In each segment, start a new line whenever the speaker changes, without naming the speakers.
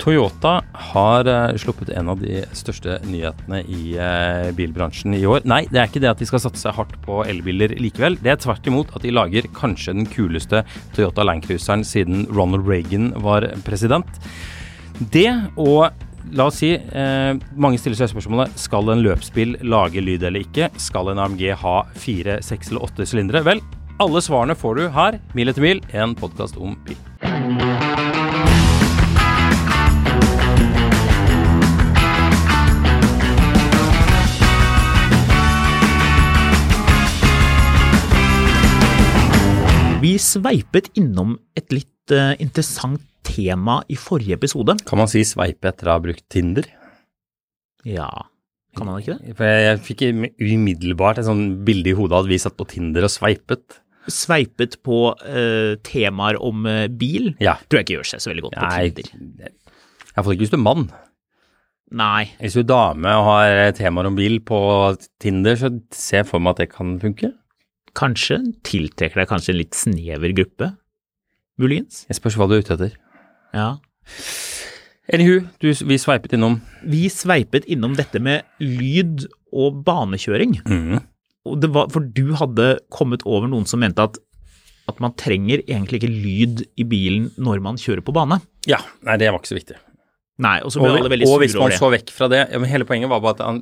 Toyota har eh, sluppet en av de største nyhetene i eh, bilbransjen i år. Nei, det er ikke det at de skal satse hardt på elbiler likevel. Det er tvert imot at de lager kanskje den kuleste Toyota Landcruiseren siden Ronald Reagan var president. Det og La oss si, eh, mange stiller seg spørsmålet skal en løpsbil lage lyd eller ikke? Skal en AMG ha fire, seks eller åtte sylindere? Vel, alle svarene får du her, Mil etter mil, en podkast om bil.
Vi sveipet innom et litt eh, interessant tema i forrige episode.
Kan man si sveipe etter å ha brukt Tinder?
Ja, kan man ikke det?
For jeg, jeg fikk im- umiddelbart et sånn bilde i hodet at vi satt på Tinder og sveipet.
Sveipet på eh, temaer om eh, bil.
Ja.
Tror jeg ikke gjør seg så veldig godt på
Nei,
Tinder.
jeg får ikke hvis du er mann.
Nei.
Hvis du er dame og har temaer om bil på Tinder, så ser jeg for meg at det kan funke.
Kanskje tiltrekker deg kanskje en litt snever gruppe, muligens.
Jeg spørs hva du er ute etter.
Ja.
Anywho, du, vi sveipet innom.
Vi sveipet innom dette med lyd og banekjøring. Og det var, for du hadde kommet over noen som mente at, at man trenger egentlig ikke lyd i bilen når man kjører på bane.
Ja, nei, det var ikke så viktig.
Nei, og så
Og,
ble alle veldig
og hvis
sure
man
over det.
så vekk fra det ja, men Hele poenget var bare at han,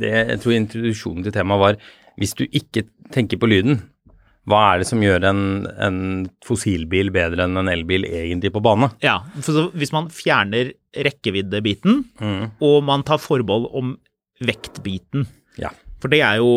det, jeg tror introduksjonen til temaet var hvis du ikke tenker på lyden, hva er det som gjør en, en fossilbil bedre enn en elbil egentlig på bane?
Ja, for så, hvis man fjerner rekkeviddebiten,
Mm.
og man tar forbehold om vektbiten,
Ja.
for det er jo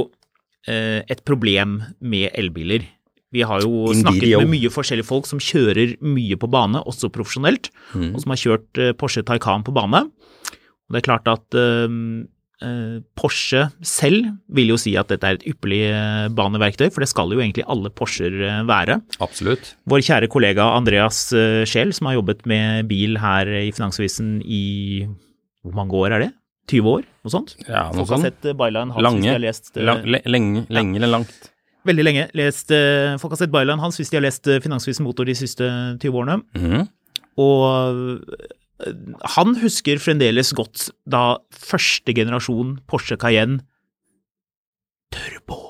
eh, et problem med elbiler. Vi har jo
Indeed,
snakket
yo.
med mye forskjellige folk som kjører mye på bane, også profesjonelt,
Mm.
og som har kjørt eh, Porsche Taycan på bane. Og det er klart at eh, eh, Porsche selv vil jo si at dette er et ypperlig eh, baneverktøy, for det skal jo egentlig alle Porscher eh, være.
Absolutt.
Vår kjære kollega Andreas eh, Scheel, som har jobbet med bil her i Finansavisen i hvor mange år er det? 20 år, noe sånt?
Ja, noe
Folk har
sånt.
sett eh, Byline hans hvis de
Lange.
har lest eh,
Lang, le, lenge, lenge eller langt.
Veldig lenge. Lest, eh, folk har sett Byline hans hvis de har lest eh, Finansavisen Motor de siste 20 årene.
Mhm.
Og eh, han husker fremdeles godt da første generasjon Porsche Cayenne Turbo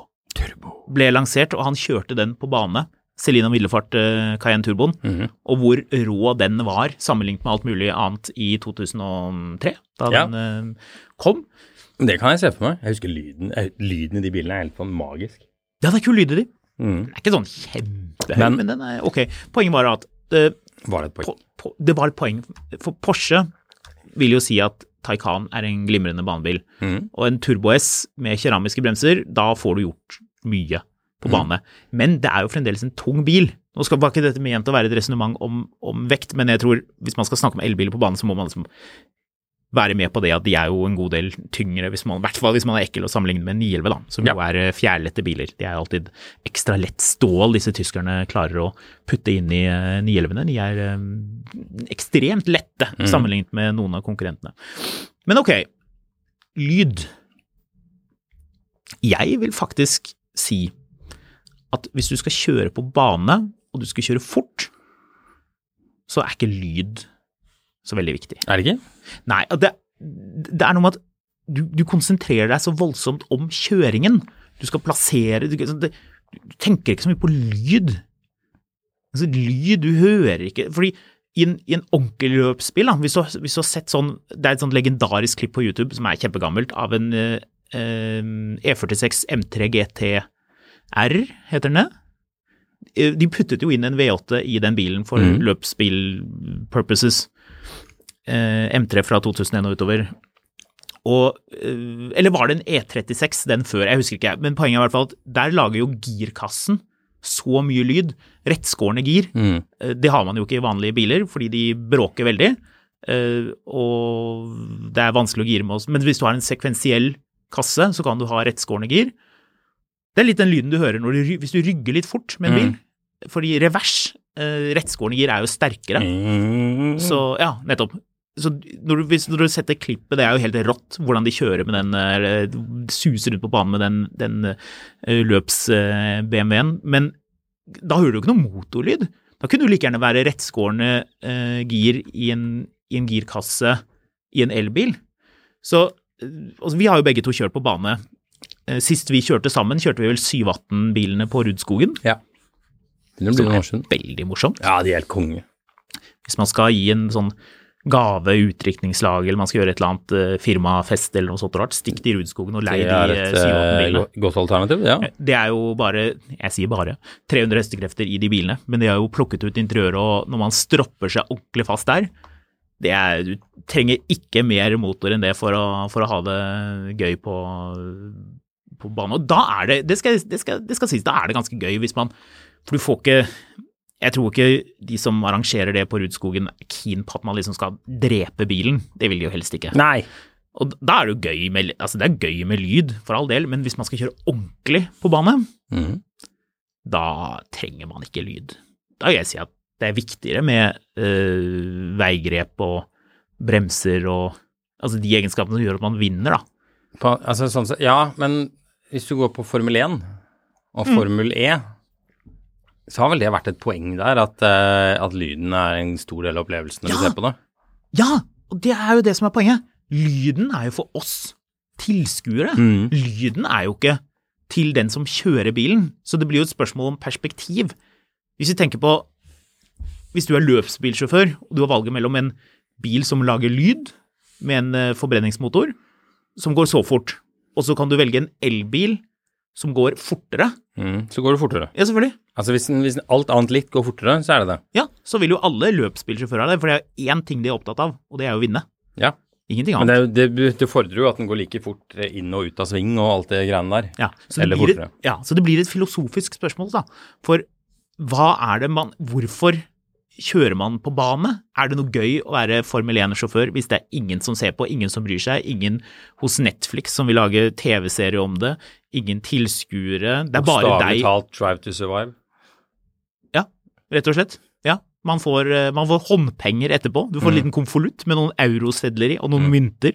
ble lansert, og han kjørte den på bane. Celine Middelfart eh, Cayenne Turboen,
Mhm.
og hvor rå den var sammenlignet med alt mulig annet i 2003, da
Ja.
den eh, kom.
Men Det kan jeg se for meg. Jeg husker lyden, eh, lyden i de bilene er helt sånn magisk.
Ja, det er kul lyd i de.
Mhm.
Den er ikke sånn kjempehøy,
Men-
men, den er ok. Poenget var at eh,
Var det et poeng?
po, po, det var et poeng, for Porsche vil jo si at Taycan er en glimrende banebil.
Mhm.
Og en Turbo S med keramiske bremser, da får du gjort mye på bane. Men det er jo fremdeles en tung bil. Nå skal var ikke dette ment å være et resonnement om, om vekt, men jeg tror hvis man skal snakke om elbiler på bane, så må man liksom være med på det at de er jo en god del tyngre, hvis man, i hvert fall hvis man er ekkel å sammenligne med en 911, da, som
Ja.
jo er eh, fjærlette biler. De er jo alltid ekstra lett stål disse tyskerne klarer å putte inn i eh, 911-ene. De er eh, ekstremt lette sammenlignet med noen av konkurrentene. Men ok, lyd. Jeg vil faktisk si at hvis du skal kjøre på bane, og du skal kjøre fort, så er ikke lyd så veldig viktig.
Er det ikke?
Nei, og det, det er noe med at du, du konsentrerer deg så voldsomt om kjøringen. Du skal plassere Du, du, du tenker ikke så mye på lyd. Altså, lyd du hører ikke Fordi i en, i en ordentlig løpsbil, da, hvis, du, har- hvis du har sett sånn Det er et sånt legendarisk klipp på YouTube som er kjempegammelt, av en eh, eh, E46 M3 GTR, heter den det? Eh, De puttet jo inn en V8 i den bilen for
Mhm.
løpsbil-purposes. Eh, M3 fra 2001 og utover. Og, eh, eller var det en E36, den før? Jeg husker ikke, men poenget er i hvert fall at der lager jo girkassen så mye lyd. Rettskårne gir.
Mm.
Eh, Det har man jo ikke i vanlige biler, fordi de bråker veldig. eh, Og det er vanskelig å gire med oss. Men hvis du har en sekvensiell kasse, så kan du ha rettskårne gir. Det er litt den lyden du hører når du, ry- hvis du rygger litt fort med en bil. Fordi revers, eh, rettskårne gir, er jo sterkere.
Mhm.
Så ja, nettopp. Så når du, hvis, når du setter klippet, det er jo helt rått hvordan de kjører med den, eh, eller suser rundt på banen med den, den eh, løps-BMW-en, men da hører du ikke noe motorlyd. Da kunne du like gjerne være rettskårende eh, gir i en, i en girkasse i en elbil. Så eh, altså, vi har jo begge to kjørt på bane. Eh, Sist vi kjørte sammen, kjørte vi vel 718-bilene på Rudskogen.
Ja. Begynner å bli noen år siden.
Veldig morsomt.
Ja, de er helt konge.
Hvis man skal gi en sånn gave, utdrikningslag, eller man skal gjøre et eller annet eh, firmafest eller noe sånt rart, stikk til Rudskogen og lei
Det
de
er
eh,
et
718
eh,
bilene.
go- godt alternativ, ja.
Det er jo bare, jeg sier bare, 300 hestekrefter i de bilene, men de har jo plukket ut interiøret, og når man stropper seg ordentlig fast der, det er, du trenger ikke mer motor enn det for å, for å ha det gøy på, på banen. Og da er det, det skal, det, skal, det skal sies, da er det ganske gøy hvis man, for du får ikke, jeg tror ikke de som arrangerer det på Rudskogen er keen på at man liksom skal drepe bilen. Det vil de jo helst ikke.
Nei.
Og da er det jo gøy med, altså det er gøy med lyd, for all del, men hvis man skal kjøre ordentlig på bane,
Mhm.
da trenger man ikke lyd. Da vil jeg si at det er viktigere med øh, veigrep og bremser og altså de egenskapene som gjør at man vinner, da.
På, altså, sånn, sett- ja, men hvis du går på Formel 1
Mm.
og Formel E, så har vel det vært et poeng der at, eh, at lyden er en stor del av opplevelsen når du
Ja.
ser på det.
Ja, og det er jo det som er poenget. Lyden er jo for oss tilskuere.
Mm.
Lyden er jo ikke til den som kjører bilen, så det blir jo et spørsmål om perspektiv. Hvis vi tenker på Hvis du er løpsbilsjåfør, og du har valget mellom en bil som lager lyd med en eh, forbrenningsmotor, som går så fort, og så kan du velge en elbil som går fortere
Mm. Så går det fortere.
Ja, selvfølgelig.
Altså hvis, den- hvis den- alt annet litt går fortere, så er det det.
Ja, så vil jo alle løpsbilsjåfører ha det, for det er jo én ting de er opptatt av, og det er jo å vinne.
Ja.
Ingenting
Men
annet.
det, er jo- det, det fordrer jo at den går like fort eh, inn og ut av sving og alt det greiene der.
Ja, så det
Eller
blir
fortere.
et, ja, så det blir et filosofisk spørsmål, da. For hva er det man Hvorfor kjører man på bane? Er det noe gøy å være Formel 1-sjåfør hvis det er ingen som ser på, ingen som bryr seg, ingen hos Netflix som vil lage TV-serie om det, ingen tilskuere Det er bare
Bokstavelig
deg,
talt Drive to Survive.
rett og slett. Ja. Man får, eh, man får håndpenger etterpå. Du får en
Mm.
liten konvolutt med noen eurosedler i, og noen mynter.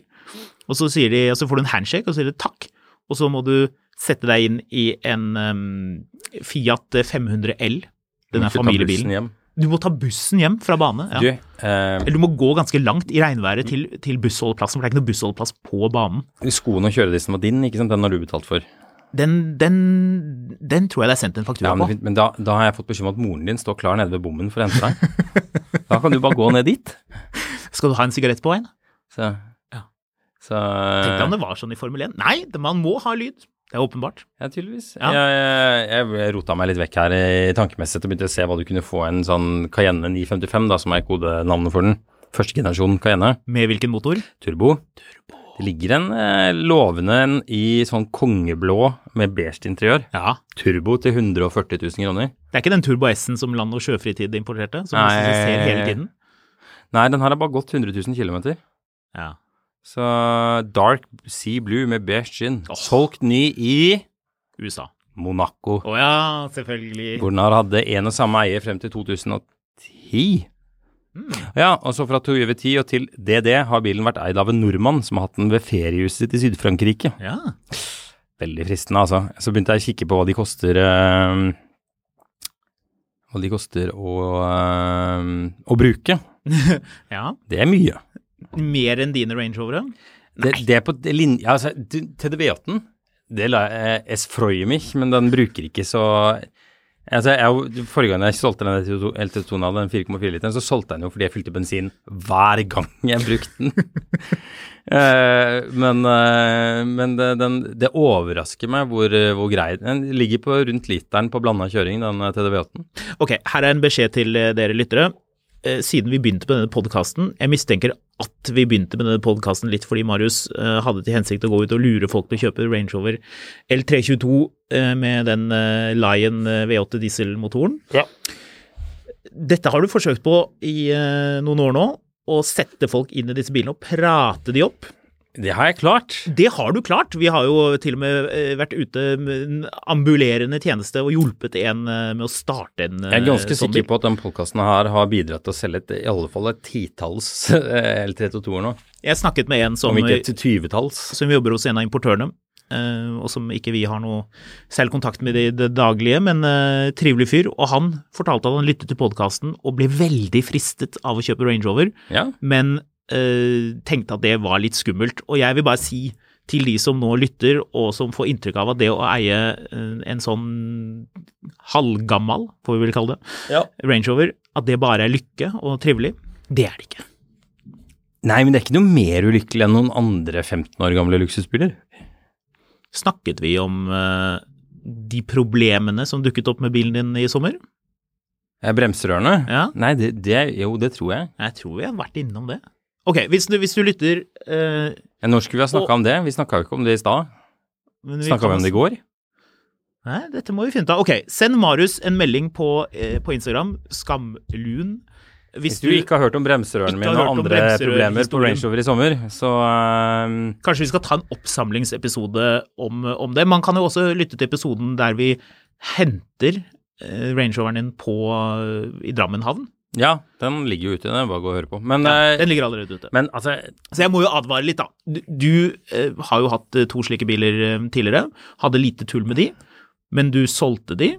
Og så, sier de, og så får du en handshake, og så sier de takk. Og så må du sette deg inn i en ehm, Fiat 500 L. Den
Du
er
tar bussen
familiebilen.
hjem.
Du må ta bussen hjem fra bane.
Du,
Ja.
eh,
Eller du må gå ganske langt i regnværet til, til bussholdeplassen, for det er ikke noe bussholdeplass på banen.
skoene og kjøredissen var din, ikke sant? Den har du betalt for.
Den, den, den tror jeg det er sendt en faktura
Ja, men
på.
men da, da har jeg fått beskjed om at moren din står klar nede ved bommen for å hente deg. Da kan du bare gå ned dit.
Skal du ha en sigarett på veien?
Så,
Ja.
så Eh.
Tenk deg om det var sånn i Formel 1. Nei, det- man må ha lyd. Det er åpenbart.
Ja, tydeligvis.
Ja.
Jeg, jeg, jeg rota meg litt vekk her i tankemessig og begynte å se hva du kunne få en sånn Cayenne 955, da, som er kodenavnet for den. Første generasjon Cayenne.
Med hvilken motor?
Turbo. Det ligger en eh, lovende en i sånn kongeblå med beige interiør.
Ja.
Turbo til 140 000 kroner.
Det er ikke den Turbo S-en som Land og Sjøfritid importerte, som man
Nei.
ser hele tiden?
Nei, den her har bare gått 100 000 km.
Ja.
Så dark sea blue med beige skinn.
Åh.
Solgt ny i
USA.
Monaco.
Å ja, selvfølgelig.
Hvor den har hadde en og samme eier frem til 2010. Ja, og så fra 2010 og til DD har bilen vært eid av en nordmann som har hatt den ved feriehuset sitt i Syd-Frankrike.
Ja.
Veldig fristende, altså. Så begynte jeg å kikke på hva de koster eh, Hva de koster å, eh, å bruke.
ja.
Det er mye.
Mer enn dine Range Rovere?
Det, det er på det lin- ja, altså, du- Til det V8-en, det la jeg eh, Es freue mich, men den bruker ikke så Altså, jeg, er jo- forrige gang jeg solgte den LT2 LT2-en av den 4,4 literen, så solgte jeg den jo fordi jeg fylte bensin hver gang jeg brukte den. Eh, men eh, men det, den, det overrasker meg hvor, eh, hvor grei den Den ligger på rundt literen på blanda kjøring, den eh, TDV8-en.
Ok, her er en beskjed til eh, dere lyttere. Eh, Siden vi begynte med denne podkasten Jeg mistenker at vi begynte med denne podkasten litt fordi Marius eh, hadde til hensikt å gå ut og lure folk til å kjøpe Range Rover L322 eh, med den eh, Lion eh, V8 dieselmotoren. Dette har du forsøkt på i eh, noen år nå. Å sette folk inn i disse bilene og prate de opp.
Det har jeg klart.
Det har du klart. Vi har jo til og med eh, vært ute med en ambulerende tjeneste og hjulpet en eh, med å starte en
Jeg er ganske
sånn
Eh, sikker på at den podkasten her har bidratt til å selge et, i alle fall et titalls eh, L322-er nå.
Jeg snakket med en som,
Om ikke et tyvetalls.
som jobber hos en av importørene, eh, og som ikke vi har noe særlig kontakt med i det daglige, men eh, trivelig fyr. Og han fortalte at han lyttet til podkasten og ble veldig fristet av å kjøpe Range Rover,
Ja.
men eh, tenkte at det var litt skummelt. Og jeg vil bare si til de som nå lytter, og som får inntrykk av at det å eie eh, en sånn halvgammal, får vi vel kalle det,
ja.
Range Rover, at det bare er lykke og trivelig. Det er det ikke.
Nei, men det er ikke noe mer ulykkelig enn noen andre 15 år gamle luksusbiler.
Snakket vi om eh, de problemene som dukket opp med bilen din i sommer?
Eh, Bremserørene?
Ja.
Nei, det, det, jo, det tror jeg.
Jeg tror vi har vært innom det. Ok, hvis du, hvis du lytter eh,
Eh, Når skulle vi ha snakka
Og-
om det? Vi snakka jo ikke om det i stad.
men vi
Snakka
kan-
vi om det i går?
Nei, dette må vi finne ut av. Ok, send Marius en melding på, eh, på Instagram, skamlun.
Hvis du ikke har hørt om bremserørene
Ikke
mine
har hørt
og
om
andre problemer på
bremserørhistorien.
Range Rover i sommer, så eh,
Kanskje vi skal ta en oppsamlingsepisode om, om det. Man kan jo også lytte til episoden der vi henter eh, Range Roveren din på, eh, i Drammen havn.
Ja, den ligger jo ute. Den er bare å gå og høre på. Men, eh,
Den ligger allerede ute.
men altså
Så jeg må jo advare litt, da. Du, du eh, har jo hatt eh, to slike biler eh, tidligere. Hadde lite tull med de, men du solgte de.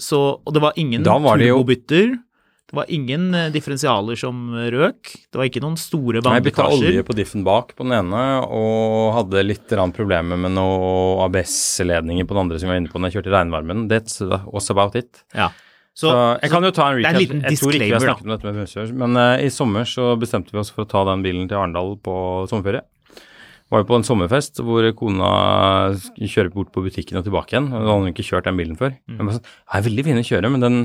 Så, og det var ingen
Da var det jo-
turbobytter. Det var ingen eh, differensialer som eh, røk. Det var ikke noen
Jeg
store
bytta olje
vannlekkasjer.
på diffen bak på den ene, og hadde litt grann problemer med noe ABS-ledninger på den andre som vi var inne på når jeg kjørte i regnvarmen. That's uh, was about it.
Ja.
Så,
Så,
jeg kan jo ta en
det
recap.
er en liten
jeg tror ikke vi har
disclaimer, da.
snakket om dette med bremser, men eh, i sommer så bestemte vi oss for å ta den bilen til Arendal på sommerferie. Var jo på en sommerfest hvor kona sk- kjører bort på butikken og tilbake igjen. Hun hadde jo ikke kjørt den bilen før.
Mm.
Jeg bare sånn, «Ja, den er veldig fin å kjøre, men den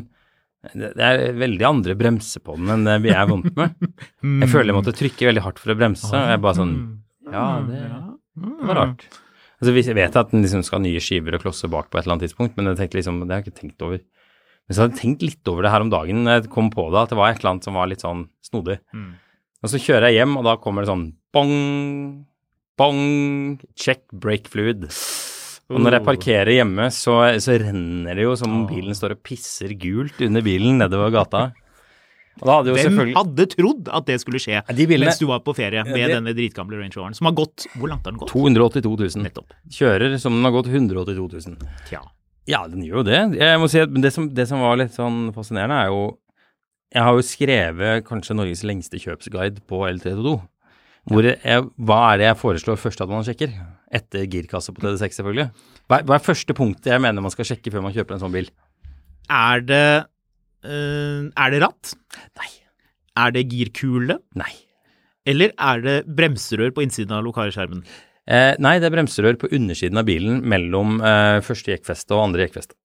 det det er veldig andre bremser på den enn det vi er vant med.
Mm.
Jeg føler jeg måtte trykke veldig hardt for å bremse. Og jeg bare sånn Ja,
Mm.
det, det var rart. Altså, hvis- jeg vet at den liksom skal ha nye skiver og klosser bak på et eller annet tidspunkt, men jeg tenkte liksom, det har jeg ikke tenkt over. Men så hadde jeg tenkt litt over det her om dagen når jeg kom på det, at det var et eller annet som var litt sånn snodig.
Mm.
Og så kjører jeg hjem, og da kommer det sånn bong, bong, check brake fluid. Og
Oh.
når jeg parkerer hjemme, så, så renner det jo som om bilen står og pisser gult under bilen nedover gata. Og da hadde jo
Hvem
selvfølgelig
hadde trodd at det skulle skje
de bilene-
mens du var på ferie med
det-
denne dritgamle Range Roveren, som har gått Hvor langt har den gått?
282 000.
Nettopp.
Kjører som den har gått 182 000.
Tja.
Ja, den gjør jo det. Jeg må si at men det som, det som var litt sånn fascinerende, er jo Jeg har jo skrevet kanskje Norges lengste kjøpsguide på L322. Hvor jeg, hva er det jeg foreslår først at man sjekker? Etter girkasse på TD6, selvfølgelig. Hva er, hva er første punktet jeg mener man skal sjekke før man kjøper en sånn bil?
Er det eh, Er det ratt?
Nei.
Er det girkule?
Nei.
Eller er det bremserør på innsiden av lokalskjermen?
Eh, nei, det er bremserør på undersiden av bilen mellom eh, første jekkfeste og andre jekkfeste.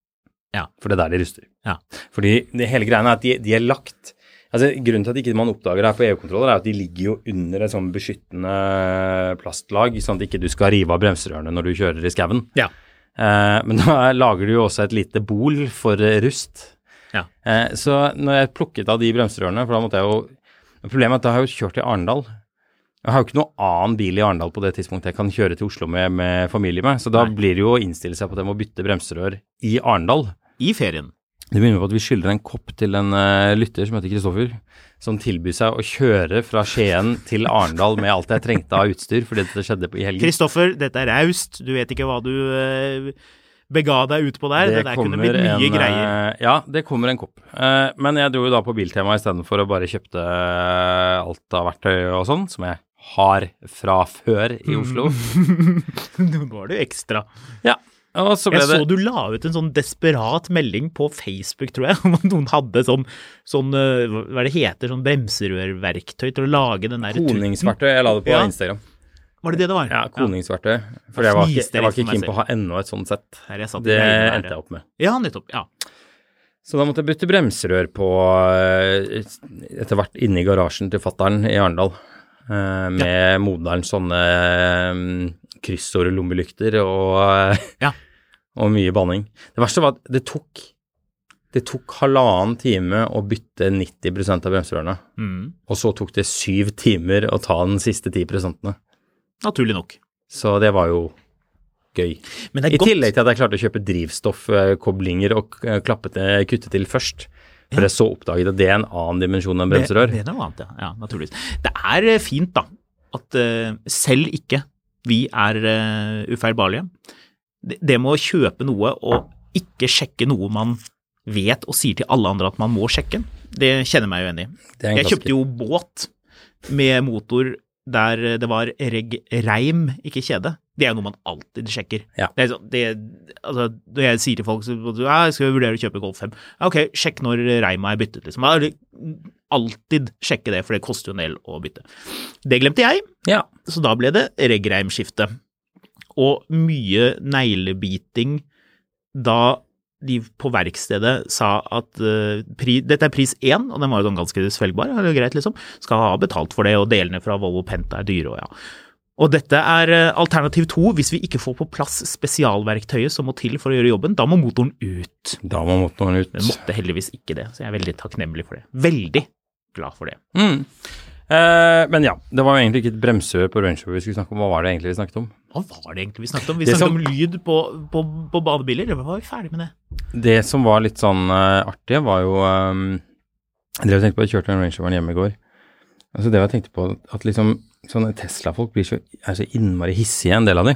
Ja.
For det er der de ruster.
Ja.
Fordi det hele greia er at de, de er lagt Altså, Grunnen til at ikke man oppdager det her på EU-kontroller, er at de ligger jo under et sånn beskyttende plastlag, sånn at ikke du skal rive av bremserørene når du kjører i skauen.
Ja.
Eh, men da lager du jo også et lite bol for eh, rust.
Ja.
Eh, så når jeg plukket av de bremserørene, for da måtte jeg jo Problemet er at da har jeg jo kjørt til Arendal. Jeg har jo ikke noen annen bil i Arendal på det tidspunktet jeg kan kjøre til Oslo med, med familie med, så da blir det jo å innstille seg på at jeg må bytte bremserør i Arendal.
I ferien.
Det begynner med at vi skylder en kopp til en eh, lytter som heter Kristoffer, som tilbyr seg å kjøre fra Skien til Arendal med alt jeg trengte av utstyr, fordi dette skjedde på- i helgen.
Kristoffer, dette er raust. Du vet ikke hva du eh, bega deg ut på der. Det, der kunne blitt mye
en,
greier.
eh, Ja, det kommer en kopp. Eh, men jeg dro jo da på Biltema istedenfor å bare kjøpte eh, alt av verktøy og sånn, som jeg
Mm.
har fra før i Oslo.
Nå var du ekstra.
Ja. Og så ble
Jeg
det
så du la ut en sånn desperat melding på Facebook, tror jeg, om at noen hadde sånn, sånn eh, hva er det heter, sånn bremserørverktøy til å lage den der tuten.
koningsverktøy. Jeg la det på
Ja.
Instagram.
Var det det det var?
Ja, koningsverktøy. For jeg var ikke, jeg var
Fniser litt for
ikke
meg
keen på å ha enda et sånt sett.
Her jeg liksom, altså. satt
Det
med øynene der,
endte jeg
ja.
opp med.
Ja, nettopp. Ja.
Så da måtte jeg bytte bremserør på eh, etter hvert inne i garasjen til fattern i Arendal. eh, Med moderns sånne mm, kryssordlommelykter og,
Ja.
og mye banning. Det verste var at det tok, det tok halvannen time å bytte 90 av bremserørene.
Mm.
Og så tok det syv timer å ta den siste 10
Naturlig nok.
Så det var jo gøy.
Men det
I
er godt.
tillegg til at jeg klarte å kjøpe drivstoffkoblinger og k- klappet det, kuttet til først. For jeg så oppdaget at det er en annen dimensjon enn bremserør.
Det, det er noe annet, ja. ja. Naturligvis. Det er eh, fint, da, at eh, selv ikke vi er eh, ufeilbarlige. Det, det med å kjøpe noe og ikke sjekke noe man vet og sier til alle andre at man må sjekke, det kjenner jeg meg jo enig i.
Det er en
Jeg
klassiker.
kjøpte jo båt med motor der eh, det var reg reim, ikke kjede. Det er jo noe man alltid sjekker.
Ja.
Det er sånn, det, altså, når jeg sier til folk så, ja, jeg skal vurdere å kjøpe Golf 5, ja, ok, sjekk når reima er byttet, liksom. Ja, det- Alltid sjekke det, for det koster jo en del å bytte. Det glemte jeg,
Ja.
så da ble det reggreimskifte. Og mye neglebiting da de på verkstedet sa at eh, pri, dette er pris én, og den var jo sånn ganske svelgbar, ja, det er greit liksom, skal ha betalt for det, og delene fra Volvo Penta er dyre og ja. Og dette er eh, alternativ to, hvis vi ikke får på plass spesialverktøyet som må til for å gjøre jobben, da må motoren ut.
Da må motoren ut.
Den måtte heldigvis ikke det, så jeg er veldig takknemlig for det. Veldig glad for det.
Mm. Eh, men ja, det var jo egentlig ikke et bremserør på Range Rover vi skulle snakke om. Hva var det egentlig vi snakket om?
Hva var det egentlig vi snakket om? Vi
Det
snakket
som-
om lyd på, på, på badebiler, da var vi ferdig med det.
Det som var litt sånn eh, artig, var jo eh, Jeg drev og tenkte på, jeg kjørte den Range Roveren hjemme i går. Altså det var jeg tenkte på, at liksom sånne Tesla-folk blir så, er så innmari hissige, en del av de.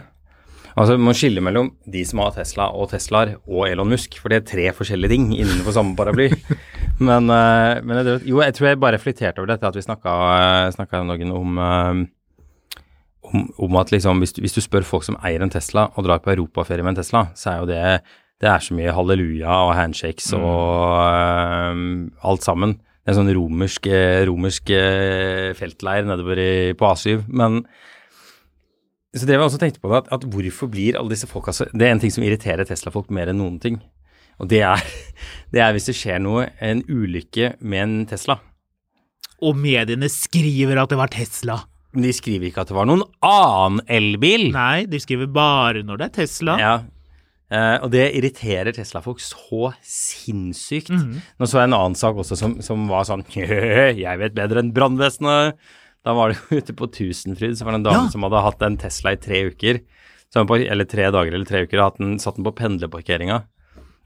Altså Man må skille mellom de som har Tesla og Teslaer og Elon Musk, for det er tre forskjellige ting innenfor samme paraply. men eh, men jeg, drev- jo, jeg tror jeg bare reflekterte over dette, at vi snakka eh, snakka noen om eh, om, om at liksom, hvis, du, hvis du spør folk som eier en Tesla og drar på europaferie med en Tesla, så er jo det det er så mye halleluja og handshakes og øhm, alt sammen. Det er en sånn romersk, eh, romersk eh, feltleir nedover i, på A7. Men så drev jeg også og tenkte på det, at, at hvorfor blir alle disse folka så Det er en ting som irriterer Tesla-folk mer enn noen ting. Og det er, det er hvis det skjer noe, en ulykke med en Tesla.
Og mediene skriver at det var Tesla.
Men de skriver ikke at det var noen annen elbil.
Nei, de skriver bare når det er Tesla.
Ja. Eh, og det irriterer Tesla-folk så sinnssykt.
Mhm.
Nå så jeg en annen sak også som, som var sånn Jeg vet bedre enn brannvesenet. Da var det jo ute på Tusenfryd, så var det en dame
Ja.
som hadde hatt en Tesla i tre uker. Så hun på, eller tre dager eller tre uker. og Hatt den, satt den på pendlerparkeringa.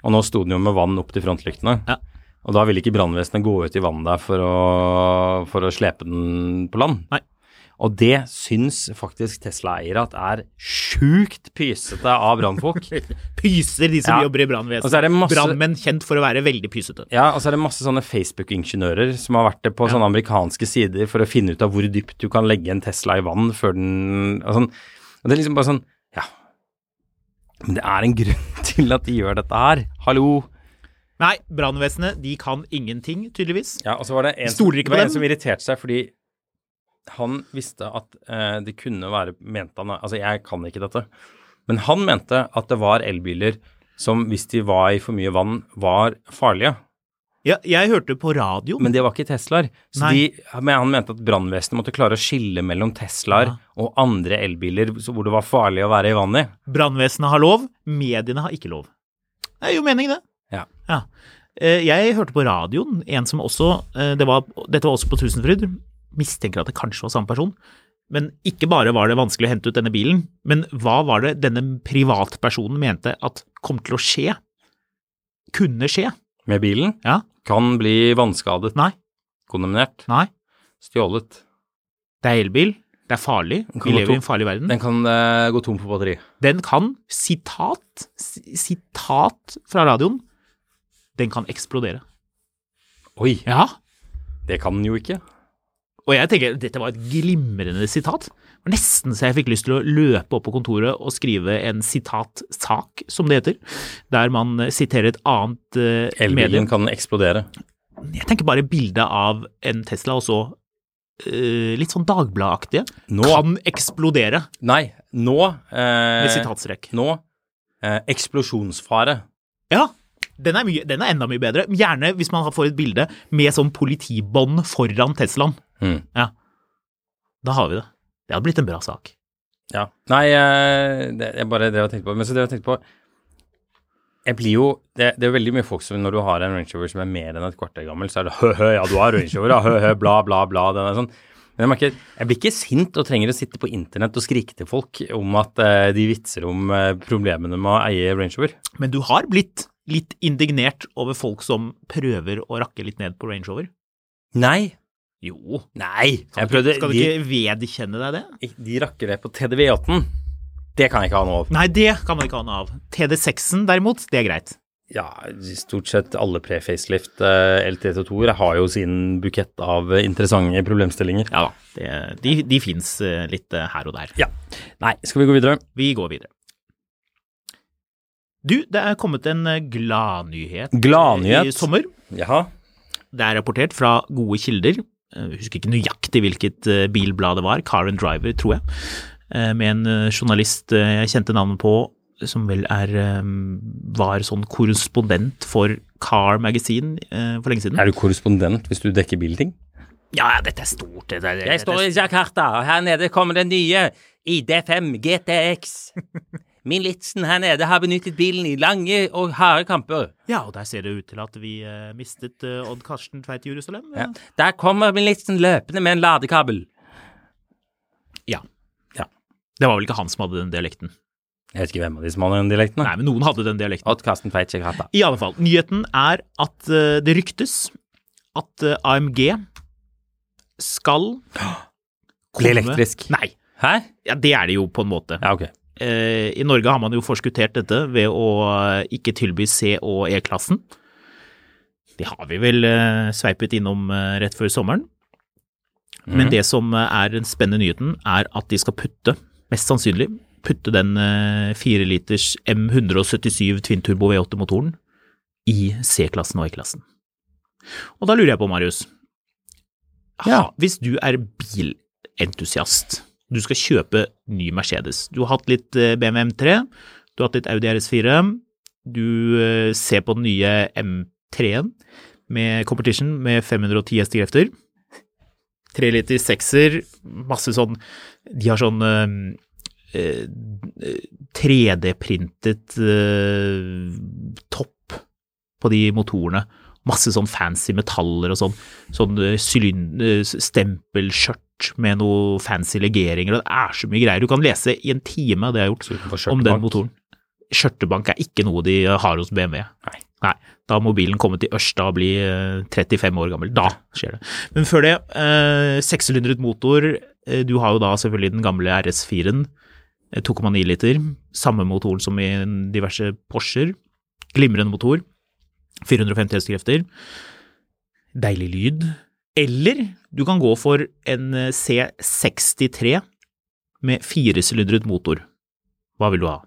Og nå sto den jo med vann opp til frontlyktene.
Ja.
Og da ville ikke brannvesenet gå ut i vannet der for å, for å slepe den på land.
Nei.
Og det syns faktisk Tesla-eiere at er sjukt pysete av brannfolk.
Pyser de som
Ja.
jobber i
Og så er
brannvesenet.
det masse-
Brannmenn kjent for å være veldig pysete.
Ja, og så er det masse sånne Facebook-ingeniører som har vært det på sånne amerikanske sider for å finne ut av hvor dypt du kan legge en Tesla i vann før den og, sånn. og det er liksom bare sånn Ja, men det er en grunn til at de gjør dette her. Hallo.
Nei, brannvesenet de kan ingenting, tydeligvis.
Ja, og så var det en, som,
Stoler ikke
det
på
var en
dem.
som irriterte seg fordi han visste at eh, det kunne være mente han, Altså, jeg kan ikke dette. Men han mente at det var elbiler som, hvis de var i for mye vann, var farlige.
Ja, jeg hørte på radio
Men det var ikke Teslaer. Så
Nei.
de, men han mente at brannvesenet måtte klare å skille mellom Teslaer og andre elbiler så- hvor det var farlig å være i vannet.
brannvesenet har lov, mediene har ikke lov. Det er jo mening, det.
Ja.
Ja. Eh, Jeg hørte på radioen en som også eh, det var, Dette var også på Tusenfryd. Mistenker at det kanskje var samme person. Men ikke bare var det vanskelig å hente ut denne bilen, men hva var det denne privatpersonen mente at kom til å skje? Kunne skje?
Med bilen
Ja?
kan bli vannskadet,
Nei?
kondemnert,
Nei?
stjålet.
Det er elbil. Det er farlig.
Den kan
Vi
gå
lever i
tom.
en farlig verden.
Den kan eh, gå tom for batteri.
Den kan, sitat, si- sitat fra radioen, den kan eksplodere.
Oi,
Ja,
det kan den jo ikke.
Og jeg tenker dette var et glimrende sitat. Det var Nesten så jeg fikk lyst til å løpe opp på kontoret og skrive en sitatsak, som det heter, der man eh, siterer et annet eh, medium.
Elbilen kan eksplodere.
Jeg tenker bare bildet av en Tesla og så eh, litt sånn Dagbladet-aktige
Nå-
kan eksplodere
Nei, nå eh,
med sitatstrekk.
Nå eh, eksplosjonsfare.
Ja, den er, mye, den er enda mye bedre. Gjerne hvis man har- får et bilde med sånn politibånd foran Teslaen.
Mm.
Ja. Da har vi det. Det hadde blitt en bra sak.
Ja. Nei, eh, det, jeg bare drev og tenkte på Men så drev jeg og tenkte på Jeg blir jo det, det er jo veldig mye folk som når du har en Range Rover som er mer enn et kvarter gammel, så er det hø-hø, ja, du har Range Rover, ja, hø-hø, bla, bla, bla. Den er sånn. Men jeg, merker, jeg blir ikke sint og trenger å sitte på internett og skrike til folk om at eh, de vitser om eh, problemene med å eie Range Rover.
Men du har blitt litt indignert over folk som prøver å rakke litt ned på Range Rover?
Nei.
Jo.
Nei. Jeg
Kan du ikke-
prøvde,
skal du
de,
ikke vedkjenne deg det?
de rakker det på TDV8-en. Det kan jeg ikke ha noe av.
Nei, det kan man ikke ha noe av. TD6-en derimot, det er greit.
Ja, stort sett alle pre-facelift eh, LT32-er har jo sin bukett av eh, interessante problemstillinger.
Ja da. Det, de de fins eh, litt eh, her og der.
Ja. Nei, skal vi gå videre?
Vi går videre. Du, det er kommet en eh, gladnyhet
Gladnyhet?
i sommer.
Jaha.
Det er rapportert fra gode kilder. Eh, Jeg husker ikke nøyaktig hvilket eh, bilblad det var. Car and Driver, tror jeg. Eh, Med en eh, journalist eh, jeg kjente navnet på, som vel er eh, var sånn korrespondent for Car Magazine eh, for lenge siden.
Er du korrespondent hvis du dekker bilting?
Ja, ja, dette er stort. Dette, er- dette, er-
i Jakarta, og her nede kommer den nye ID5 GTX. Militsen her nede har benyttet bilen i lange og harde kamper.
Ja, og der ser det ut til at vi eh, mistet eh, Odd Karsten Tveit Jerusalem.
Der kommer militsen løpende med en ladekabel.
Ja. ja. Det var vel ikke han som hadde den dialekten.
Jeg vet ikke hvem av de som har den dialekten. da.
Nei, men noen hadde den dialekten.
Odd Karsten Tveit Jakarta.
I alle fall, nyheten er at eh, det ryktes at eh, AMG skal
Bli elektrisk.
Nei,
Hæ?
ja, det er det jo på en måte.
Ja, ok.
Eh, I Norge har man jo forskuttert dette ved å eh, ikke tilby C- og E-klassen. Det har vi vel eh, sveipet innom eh, rett før sommeren. Men det som eh, er den spennende nyheten, er at de skal putte, mest sannsynlig, putte den eh, 4 liters M177 Twin Turbo V8-motoren i C-klassen og E-klassen. Og da lurer jeg på, Marius,
Ja.
ha- hvis du er bilentusiast, du skal kjøpe ny Mercedes, du har hatt litt eh, BMW M3, du har hatt litt Audi RS4, du eh, ser på den nye M3-en med Competition med 510 hestekrefter. Tre liter sekser, masse sånn De har sånn eh, eh, 3D-printet eh, topp på de motorene. Masse sånn fancy metaller og sånn. Sånn eh, sylyn- eh, stempelskjørt med noe fancy legeringer. og Det er så mye greier. Du kan lese i en time, det har jeg gjort,
Utenfor
om
skjørtebank.
den motoren. Skjørtebank er ikke noe de har hos BMW.
Nei.
Da har mobilen kommet til Ørsta og blir eh, 35 år gammel. Da skjer det. Men før det, eh, sekssylindret motor. Eh, Du har jo da selvfølgelig den gamle RS4-en. eh, 2,9 liter. Samme motoren som i diverse Porscher. Glimrende motor. 450 hestekrefter. Deilig lyd. Eller du kan gå for en eh, C63 med firesylindret motor. Hva vil du ha?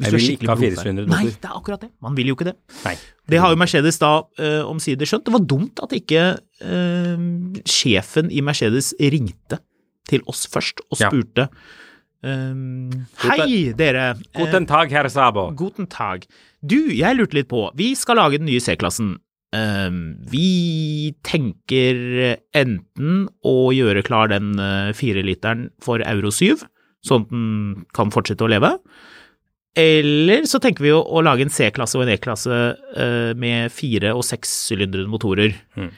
Hvis
Jeg
du er
vil
skikkelig
ikke ha
pilot der.
firesylindret
Nei,
motor.
det er akkurat det. Man vil jo ikke det.
Nei.
Det har jo Mercedes da eh, omsider skjønt. Det var dumt at ikke eh, sjefen i Mercedes ringte til oss først og
Ja.
spurte eh, Hei, dere. Eh,
Guten Tag, herr Sabo.
Guten tag. Du, jeg lurte litt på. Vi skal lage den nye C-klassen. Ehm, vi tenker enten å gjøre klar den eh, fireliteren for Euro 7, sånn at den kan fortsette å leve. Eller så tenker vi å, å lage en C-klasse og en E-klasse eh, med fire- og sekssylindrede motorer.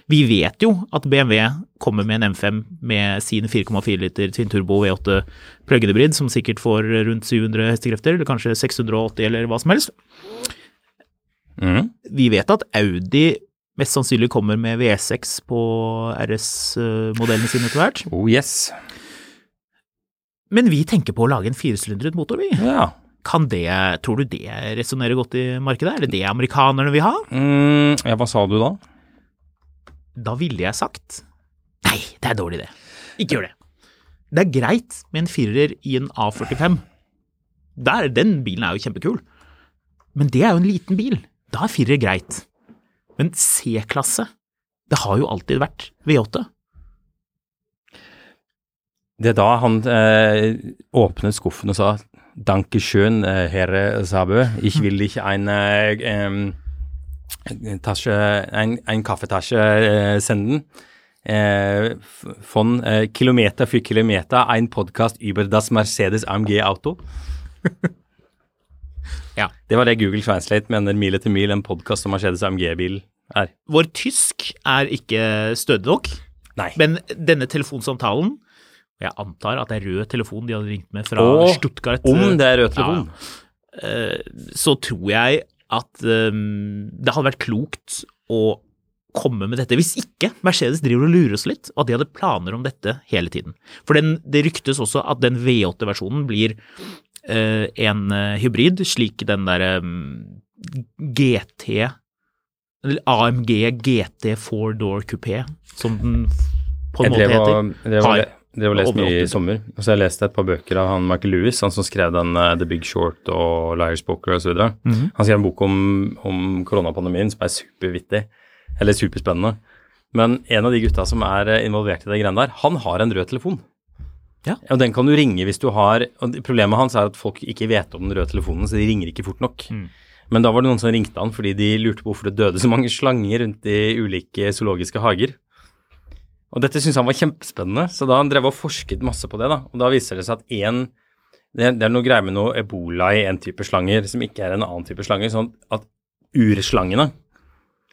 Vi vet jo at BMW kommer med en M5 med sin 4,4 liter Twin Turbo V8 plug-in hybrid, som sikkert får rundt 700 hestekrefter, eller kanskje 680, eller hva som helst.
Mm.
Vi vet at Audi mest sannsynlig kommer med V6 på RS-modellene sine etter hvert.
Oh yes.
Men vi tenker på å lage en firesylindret motor, vi.
Ja.
Kan det, tror du det resonnerer godt i markedet? Er det det amerikanerne vil ha?
Mm, ja, hva sa du da?
Da ville jeg sagt Nei, det er dårlig, det. Ikke gjør det. Det er greit med en firer i en A45. Der, den bilen er jo kjempekul. Men det er jo en liten bil. Da er firer greit. Men C-klasse, det har jo alltid vært V8.
Det er da han eh, åpnet skuffen og sa Danke schön, eh, Herre Sabø. Ich will ikke en eh, em, tasje, en, en kaffetasje eh, senden. Eh, f- von eh, Kilometer für Kilometer, ein Podcast über das Mercedes AMG Auto.
Ja.
Det var det Google Translate mener mil etter mil en podkast om Mercedes AMG-bil er.
Vår tysk er ikke stødig nok,
Nei.
men denne telefonsamtalen Jeg antar at det er rød telefon de hadde ringt med fra
Og
Stuttgart.
om det er rød telefon.
Ja, eh, så tror jeg at ehm, det hadde vært klokt å komme med dette. Hvis ikke Mercedes driver og lurer oss litt, og at de hadde planer om dette hele tiden. For den, det ryktes også at den V8-versjonen blir eh, en eh, hybrid, slik den derre GT eller AMG GT 4-door coupé, som den på en måte
Jeg drev og-
heter.
Jeg drev og,
Har.
le- drev og leste mye i
Overhoppet.
sommer. Og så har jeg lest et par bøker av han Michael Lewis, han som skrev den eh, The Big Short og Liar's Poker osv. videre
Mhm.
Han skrev en bok om, om koronapandemien som er supervittig, eller superspennende. Men en av de gutta som er eh, involvert i de greiene der, han har en rød telefon.
Ja.
Og den kan du ringe hvis du har og det- Problemet hans er at folk ikke vet om den røde telefonen, så de ringer ikke fort nok.
Mm.
Men da var det noen som ringte han fordi de lurte på hvorfor det døde så mange slanger rundt i ulike zoologiske hager. Og dette syntes han var kjempespennende, så da han drev og forsket masse på det, da. Og da viser det seg at én det, det er noe greier med noe ebola i en type slanger som ikke er en annen type slanger. Sånn at urslangene,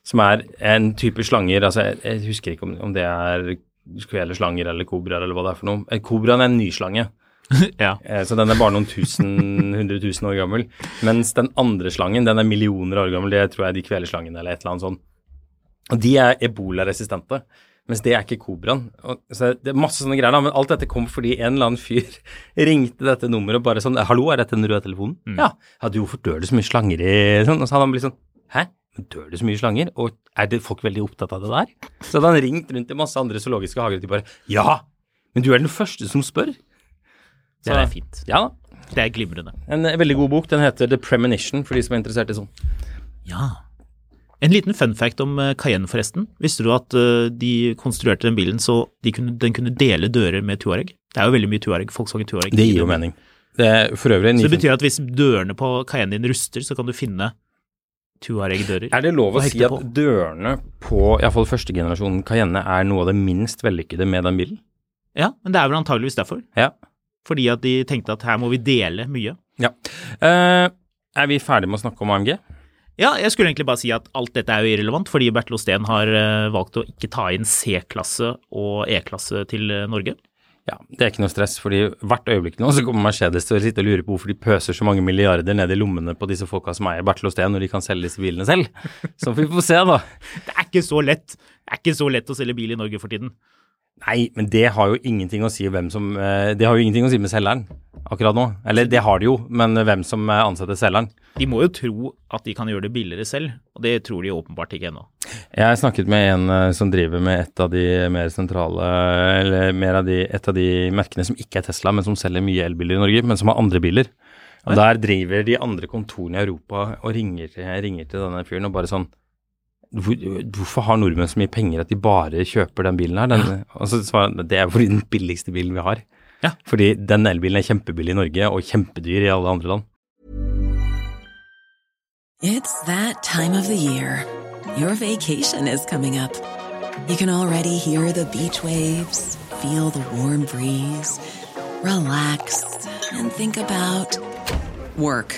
som er en type slanger Altså, jeg, jeg husker ikke om, om det er kvelerslanger eller kobraer eller hva det er for noe. Eh, Kobraen er en ny slange.
Ja.
Eh, Så den er bare noen tusen, hundre tusen år gammel. Mens den andre slangen, den er millioner år gammel. Det tror jeg er de kvelerslangene eller et eller annet sånt. Og de er ebolaresistente. Mens det er ikke kobraen. Og- Så det er masse sånne greier, da. Men alt dette kom fordi en eller annen fyr ringte dette nummeret og bare sånn 'Hallo, er dette den røde telefonen?'
Mm.
Ja. ja. Du, hvorfor dør det så mye slanger i sånn? Og så hadde han blitt sånn 'Hæ? Men dør det så mye slanger? Og er det folk veldig opptatt av det der?' Så hadde han ringt rundt til masse andre zoologiske hager og de bare 'Ja, men du er den første som spør'.
Det
Så-
er fint.
Ja da.
Det er glimrende.
En eh, veldig god bok. Den heter The Premonition, for de som er interessert i sånn.
Ja. En liten fun fact om eh, Cayenne, forresten. Visste du at eh, de konstruerte den bilen så de kunne, den kunne dele dører med Tuareg? Det er jo veldig mye Tuareg, Volkswagen Tuareg. i den.
mening. Det er for øvrig sånn-
Så
nyfin-
det betyr at hvis dørene på Cayenne din ruster, så kan du finne Tuareg-dører.
Er det lov å
Hva
si
hekter
at
på?
dørene på iallfall førstegenerasjonen Cayenne er noe av det minst vellykkede med den bilen?
Ja, men det er vel antageligvis derfor.
Ja.
Fordi at de tenkte at her må vi dele mye.
ja. Eh, er vi ferdige med å snakke om AMG?
Ja, jeg skulle egentlig bare si at alt dette er jo irrelevant, fordi Bertil Osten har eh, valgt å ikke ta inn C-klasse og E-klasse til eh, Norge.
Ja, det er ikke noe stress, fordi hvert øyeblikk nå så kommer Mercedes til å sitte og lure på hvorfor de pøser så mange milliarder ned i lommene på disse folka som eier Bertil Osten, når de kan selge disse bilene selv. Så vi får se, da.
Det er ikke så lett. Det er ikke så lett å selge bil i Norge for tiden.
Nei, men det har jo ingenting å si hvem som eh, Det har jo ingenting å si med selgeren akkurat nå. Eller det har det jo, men hvem som eh, ansetter selgeren.
De må jo tro at de kan gjøre det billigere selv, og det tror de åpenbart ikke ennå.
Jeg snakket med en eh, som driver med et av de mer sentrale Eller mer av de, et av de merkene som ikke er Tesla, men som selger mye elbiler i Norge, men som har andre biler. Og der driver de andre kontorene i Europa og ringer, til- ringer til denne fyren og bare sånn hvor, Hvorfor har nordmenn så mye penger at de bare kjøper den bilen her? Den, og så svarer han det er fordi den billigste bilen vi har.
Ja.
Fordi den elbilen er kjempebillig i Norge og kjempedyr i alle andre land.
It's that time of the year. Your vacation is coming up. You can already hear the beach waves, feel the warm breeze, relax, and think about work.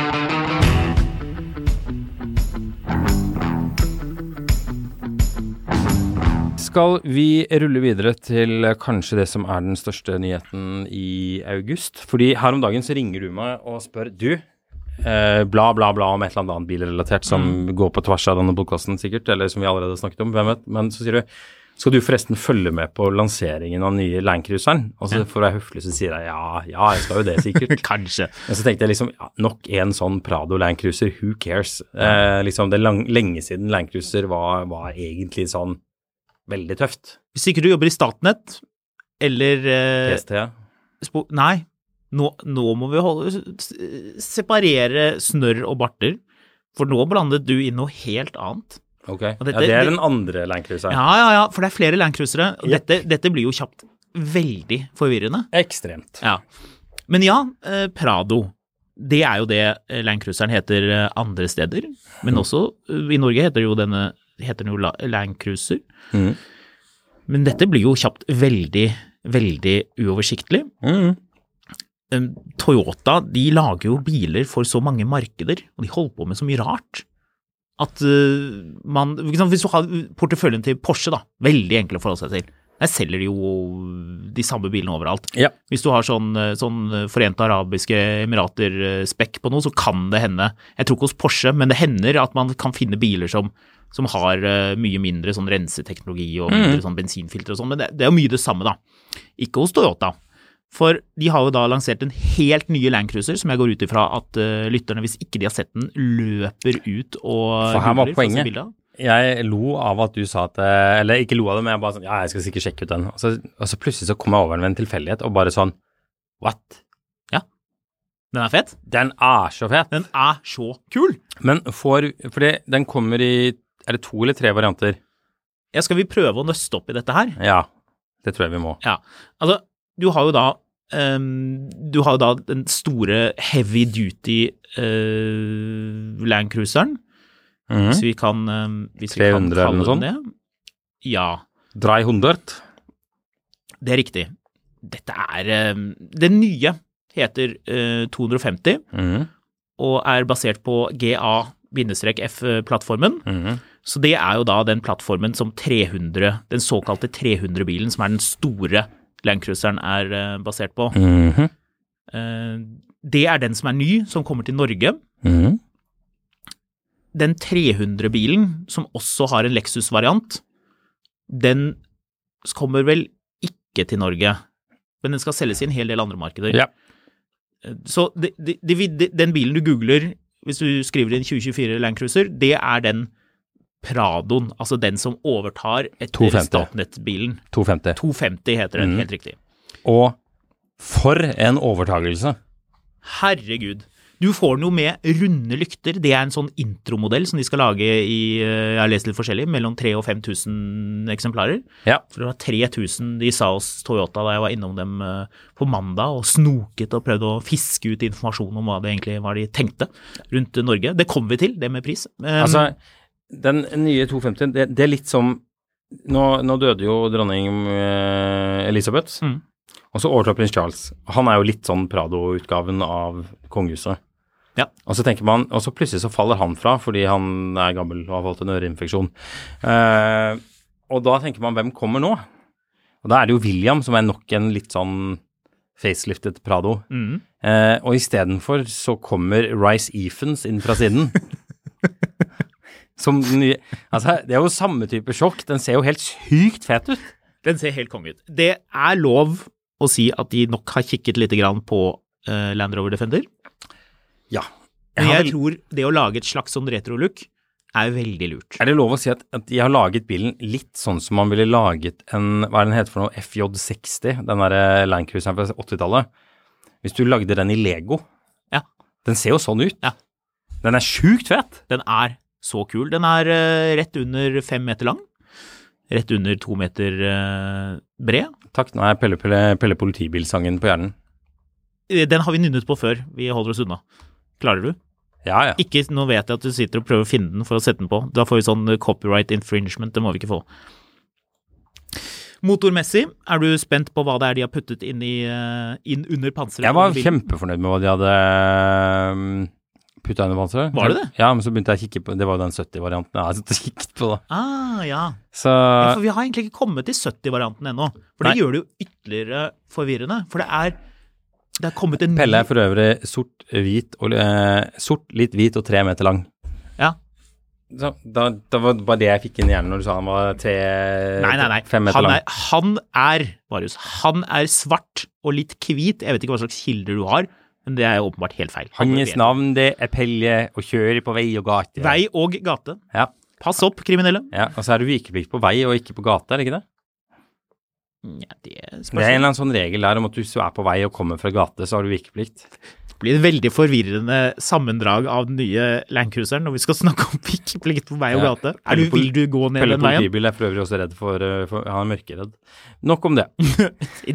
Skal vi rulle videre til eh, kanskje det som er den største nyheten i august? Fordi her om dagen så ringer du meg og spør Du, eh, bla, bla, bla om et eller annet annet bilrelatert som går på tvers av denne podkasten sikkert, eller som vi allerede har snakket om, hvem vet. Men så sier du skal du forresten følge med på lanseringen av nye Landcruiseren? Og så for å være høflig så sier jeg ja, ja, jeg skal jo det sikkert.
Kanskje.
Men så tenkte jeg liksom, ja, nok en sånn Prado Land Cruiser, who cares? Eh, liksom det er lang, lenge siden Land Cruiser var, var egentlig sånn veldig tøft.
Hvis ikke du jobber i Statnett eller eh,
PST.
spo Nei, nå, nå må vi holde, s- separere snørr og barter, for nå blandet du inn noe helt annet.
Ok.
Og dette-
ja, det
det-
er den andre Land Cruiseren.
Ja, ja, ja, for det er flere landcruisere. og Dette, dette blir jo kjapt veldig forvirrende.
Ekstremt.
Ja. Men ja, eh, Prado. Det er jo det eh, Landcruiseren heter eh, andre steder, men også eh, i Norge heter jo denne heter den jo La- Landcruiser.
Mhm.
Men dette blir jo kjapt veldig, veldig uoversiktlig. Eh, Toyota de lager jo biler for så mange markeder, og de holder på med så mye rart. At eh, man ikke sant, Hvis du har porteføljen til Porsche, da, veldig enkel å forholde seg til. Der selger de jo de samme bilene overalt.
Ja.
Hvis du har sånn, sånn Forente arabiske emirater-spekk på noe, så kan det hende. Jeg tror ikke hos Porsche, men det hender at man kan finne biler som, som har eh, mye mindre sånn renseteknologi og
Mm.
mindre sånn bensinfilter og sånn, men det, det er jo mye det samme, da. Ikke hos Toyota. For de har jo da lansert en helt ny Landcruiser, som jeg går ut ifra at eh, lytterne, hvis ikke de har sett den, løper ut og
For her var
googler for å se
poenget.
bildet av.
Jeg lo av at du sa at eh, Eller ikke lo av det, men jeg bare sånn Ja, jeg skal sikkert sjekke ut den. Og så, og så plutselig så kom jeg over den ved en tilfeldighet og bare sånn What?
Den er fet.
Den er så fet.
Den er så kul.
Men får Fordi den kommer i Er det to eller tre varianter?
Ja, skal vi prøve å nøste opp i dette her?
Ja. Det tror jeg vi må.
Ja, altså du har jo da ehm, Du har jo da den store heavy duty uh, landcruiseren, hvis vi kan ehm, hvis vi
300
kan
Mhm. eller noe
kalle den
sånt?
det. Ja,
300.
det er riktig. Dette er ehm, Den nye heter eh, 250
Mhm.
og er basert på GA-F-plattformen. Så det er jo da den plattformen som 300, den såkalte 300-bilen, som er den store landcruiseren, er eh, basert på.
Mhm.
Eh, Det er den som er ny, som kommer til Norge.
Mhm.
Den 300-bilen, som også har en Lexus-variant, den kommer vel ikke til Norge, men den skal selges i en hel del andre markeder.
Ja.
Så det, det, det, vil- det, den bilen du googler hvis du skriver inn 2024 Land Cruiser, det er den Pradoen, altså den som overtar etter
250.
Statnett-bilen.
250.
250 heter den, helt riktig.
Og for en overtagelse.
Herregud. Du får den jo med runde lykter. Det er en sånn intromodell som de skal lage i eh, jeg har lest litt forskjellig, mellom 3000 og 5000 eksemplarer.
Ja.
For det var 3000 de sa hos Toyota da jeg var innom dem eh, på mandag og snoket og prøvde å fiske ut informasjon om hva det egentlig var de tenkte rundt Norge. Det kom vi til, det med pris. Eh,
Altså, den nye 250, det, det er litt som Nå, nå døde jo dronning eh, Elisabeth,
Mm.
og så overtar prins Charles. Han er jo litt sånn Prado-utgaven av kongehuset.
Ja.
Og så tenker man, og så plutselig så faller han fra fordi han er gammel og har fått en øreinfeksjon. Eh, og da tenker man, hvem kommer nå? Og da er det jo William som er nok en litt sånn faceliftet Prado.
Mm.
Eh, og istedenfor så kommer Rice Ephens inn fra siden. Som den nye Altså, det er jo samme type sjokk. Den ser jo helt sykt fet ut.
Den ser helt konge ut. Det er lov å si at de nok har kikket litt grann på eh, Land Rover Defender.
Ja. Jeg
Men
har
jeg
vel-
tror det å lage et slags sånn retro-look er veldig lurt.
Er det lov å si at, at jeg har laget bilen litt sånn som man ville laget en Hva er den heter for noe? FJ60? Den derre Landcruiseren fra 80-tallet. Hvis du lagde den i Lego
Ja.
Den ser jo sånn ut.
Ja.
Den er sjukt fet.
Den er så kul. Den er eh, rett under fem meter lang. Rett under to meter eh, bred.
Takk, nå er Pelle, Pelle, Pelle Politibil-sangen på hjernen.
Eh, Den har vi nynnet på før. Vi holder oss unna. Klarer du?
Ja, ja.
Ikke, Nå vet jeg at du sitter og prøver å finne den for å sette den på. Da får vi sånn eh, copyright infringement. Det må vi ikke få. Motormessig, er du spent på hva det er de har puttet inn, i, eh, inn under panseret?
Jeg var
på bilen?
kjempefornøyd med hva de eh, hadde putta under panseret.
Var det det?
Ja, men så begynte jeg å kikke på Det var jo den 70-varianten jeg hadde kikket på, da.
Ah, ja.
Så
Ja, for vi har egentlig ikke kommet til 70-varianten ennå. For det
Nei.
gjør det jo ytterligere forvirrende. For det er Det er kommet en ny-
Pelle er for øvrig sort, hvit og eh, Sort, litt hvit og tre meter lang.
Ja.
Så, da, da var det bare det jeg fikk inn i hjernen når du sa han var tre
Nei, nei, nei.
Eh, fem meter
han
lang.
er, han er, Marius, han er svart og litt hvit. Jeg vet ikke hva slags kilder du har, men det er jo åpenbart helt feil.
Hans
vet.
navn det er Pelle, og kjører på vei og gate.
Vei og gate.
Ja,
Pass opp, kriminelle.
ja. Og så er det vikeplikt på vei og ikke på gate, er det ikke det?
Ja, det
Det er en
spørsmålet
eller annen sånn regel der om at hvis du er på vei og kommer fra gate, så har du vikeplikt.
blir et veldig forvirrende sammendrag av den nye landcruiseren når vi skal snakke om pikeplikt på vei og
Ja.
gate. Er du,
Pelle
vil du gå ned
Pelle
den veien?
politibil er for øvrig også redd for, eh, for Han er mørkeredd. Nok om det.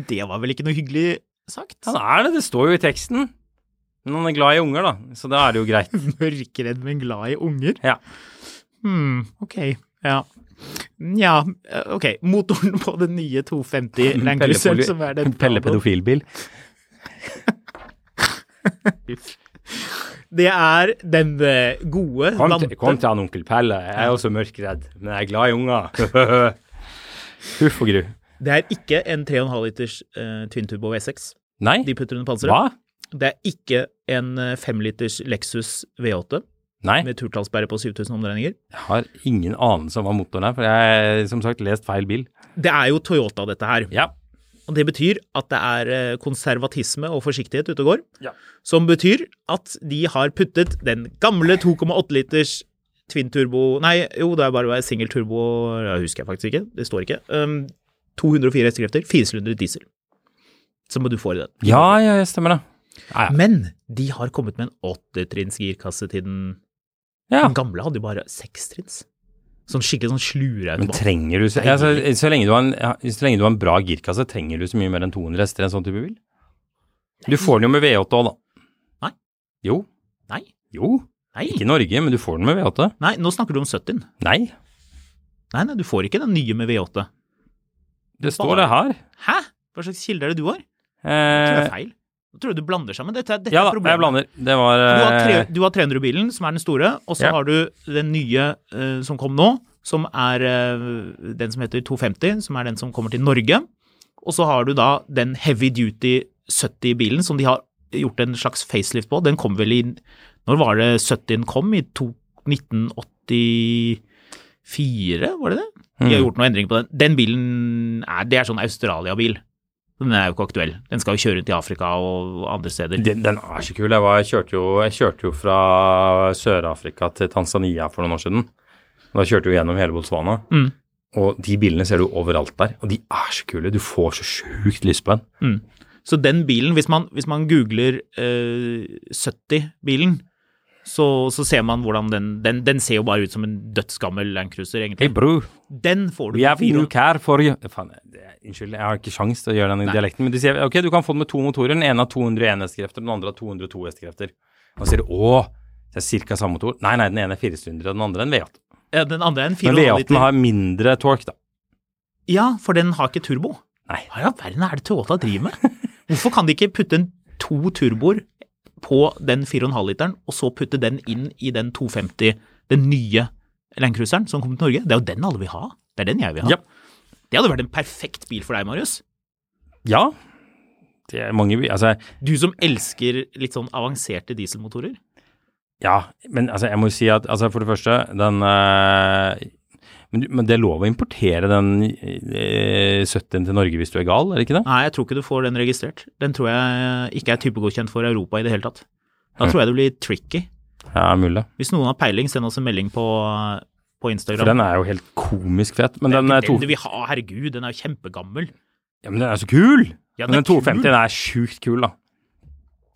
Det var vel ikke noe hyggelig sagt?
Han er det, det står jo i teksten. Men han er glad i unger, da, så da er det jo greit.
Mørkredd, men glad i unger?
Ja.
Hmm, ok. Ja. Nja, eh, ok. Motoren på den nye 250 Land
Pelle
Cruiseren,
poli-
som er den
Pelle pedofilbil.
Det er den eh, gode
Kom,
lampe-
til- kom til han onkel Pelle, jeg er også mørkredd, men jeg er glad i unger. Huff og gru.
Det er ikke en 3,5 liters eh, twin turbo V6
Nei,
de putter under panseret.
hva?
Det er ikke en eh, 5 liters Lexus V8
Nei,
med turtallsperre på 7000 omdreininger.
jeg har ingen anelse om hva motoren er, for jeg har som sagt lest feil bil.
Det er jo Toyota, dette her.
Ja,
Og Det betyr at det er eh, konservatisme og forsiktighet ute og går.
Ja.
Som betyr at de har puttet den gamle 2,8 liters twin turbo Nei, jo, det er bare singel turbo, ja, husker jeg faktisk ikke, det står ikke. Um, 204 hestekrefter, 400 diesel. Så må du få i den.
ja, ja jeg stemmer det. Ja, ja.
Men de har kommet med en åttetrinns girkasse til den
ja.
Den gamle hadde jo bare sekstrinns. Sånn skikkelig sånn
Men
slureautomat.
trenger du så, ja, så, så, lenge du har en, ja, så lenge du har en bra girkasse, trenger du så mye mer enn 200 hester i en sånn type bil? Du får den jo med V8 òg, da.
Nei.
Jo.
Nei.
Jo.
Nei.
Ikke i Norge, men du får den med V8.
nei, nå snakker du om 70-en.
Nei.
Nei, nei, du får ikke den nye med V8.
Det står det her.
Hæ? Hva slags kilde er det du har? Det
Eh,
er feil. Nå tror jeg du blander sammen. Dette, er- dette
ja
er
da, jeg
problemet.
blander. Det var
Du har,
eh,
tre, du har 300-bilen, som er den store, og så
Ja.
har du den nye eh, som kom nå, som er eh, den som heter 250, som er den som kommer til Norge. Og så har du da den heavy duty 70-bilen som de har gjort en slags facelift på. Den kom vel i Når var det 70-en kom? I to, 1984, var det det? De
Mm.
har gjort noen endringer på den. Den bilen er, det er sånn Australia-bil. Den er jo ikke aktuell. Den skal jo kjøre rundt i Afrika og andre steder.
Den, den er så kul. Jeg, var, jeg, kjørte jo, jeg kjørte jo fra Sør-Afrika til Tanzania for noen år siden. Da kjørte vi gjennom hele Botswana.
Mm.
Og de bilene ser du overalt der. Og de er så kule. Du får så sjukt lyst på en.
Så den bilen, hvis man, hvis man googler eh, 70-bilen, så, så ser man hvordan den, den Den ser jo bare ut som en dødsgammel Land Cruiser,
Hei,
egentlig.
bro.
Den får du
We have
på fire-
new car for you. Faen, det, er- unnskyld, jeg har ikke sjans til å gjøre den dialekten. Men de sier ok, du kan få den med to motorer. Den ene har 201 hestekrefter, den andre har 202 hestekrefter. Og så sier de å, det er ca. samme motor. Nei, nei, den ene er firestundere, og den andre er en V8.
ja, Den andre er en
Men
4,5
V8-en
liter.
har mindre torque, da.
Ja, for den har ikke turbo.
Nei.
Hva i all verden er det Toyota driver med? Hvorfor kan de ikke putte en to turboer på den 4,5-literen, og så putte den inn i den 250, den nye Land Cruiseren som kommer til Norge? Det er jo den alle vil ha. Det er den jeg vil ha.
Ja.
Det hadde vært en perfekt bil for deg, Marius.
Ja. Det er mange bi- Altså,
Du som elsker litt sånn avanserte dieselmotorer.
ja. Men altså, jeg må jo si at altså, for det første, den eh, men, du- men det er lov å importere den eh, 70-en til Norge hvis du er gal, er det ikke det?
Nei, jeg tror ikke du får den registrert. Den tror jeg ikke er typegodkjent for Europa i det hele tatt. Da tror jeg det blir tricky.
Ja, mulig.
Hvis noen har peiling, send oss en melding på, på Instagram.
For den er jo helt komisk fet. Men den er
det er ikke
to...
den du vil ha, herregud, den er jo kjempegammel.
Ja, men den er så kul!
Ja,
men
den
den
er
250 den er sjukt kul, da.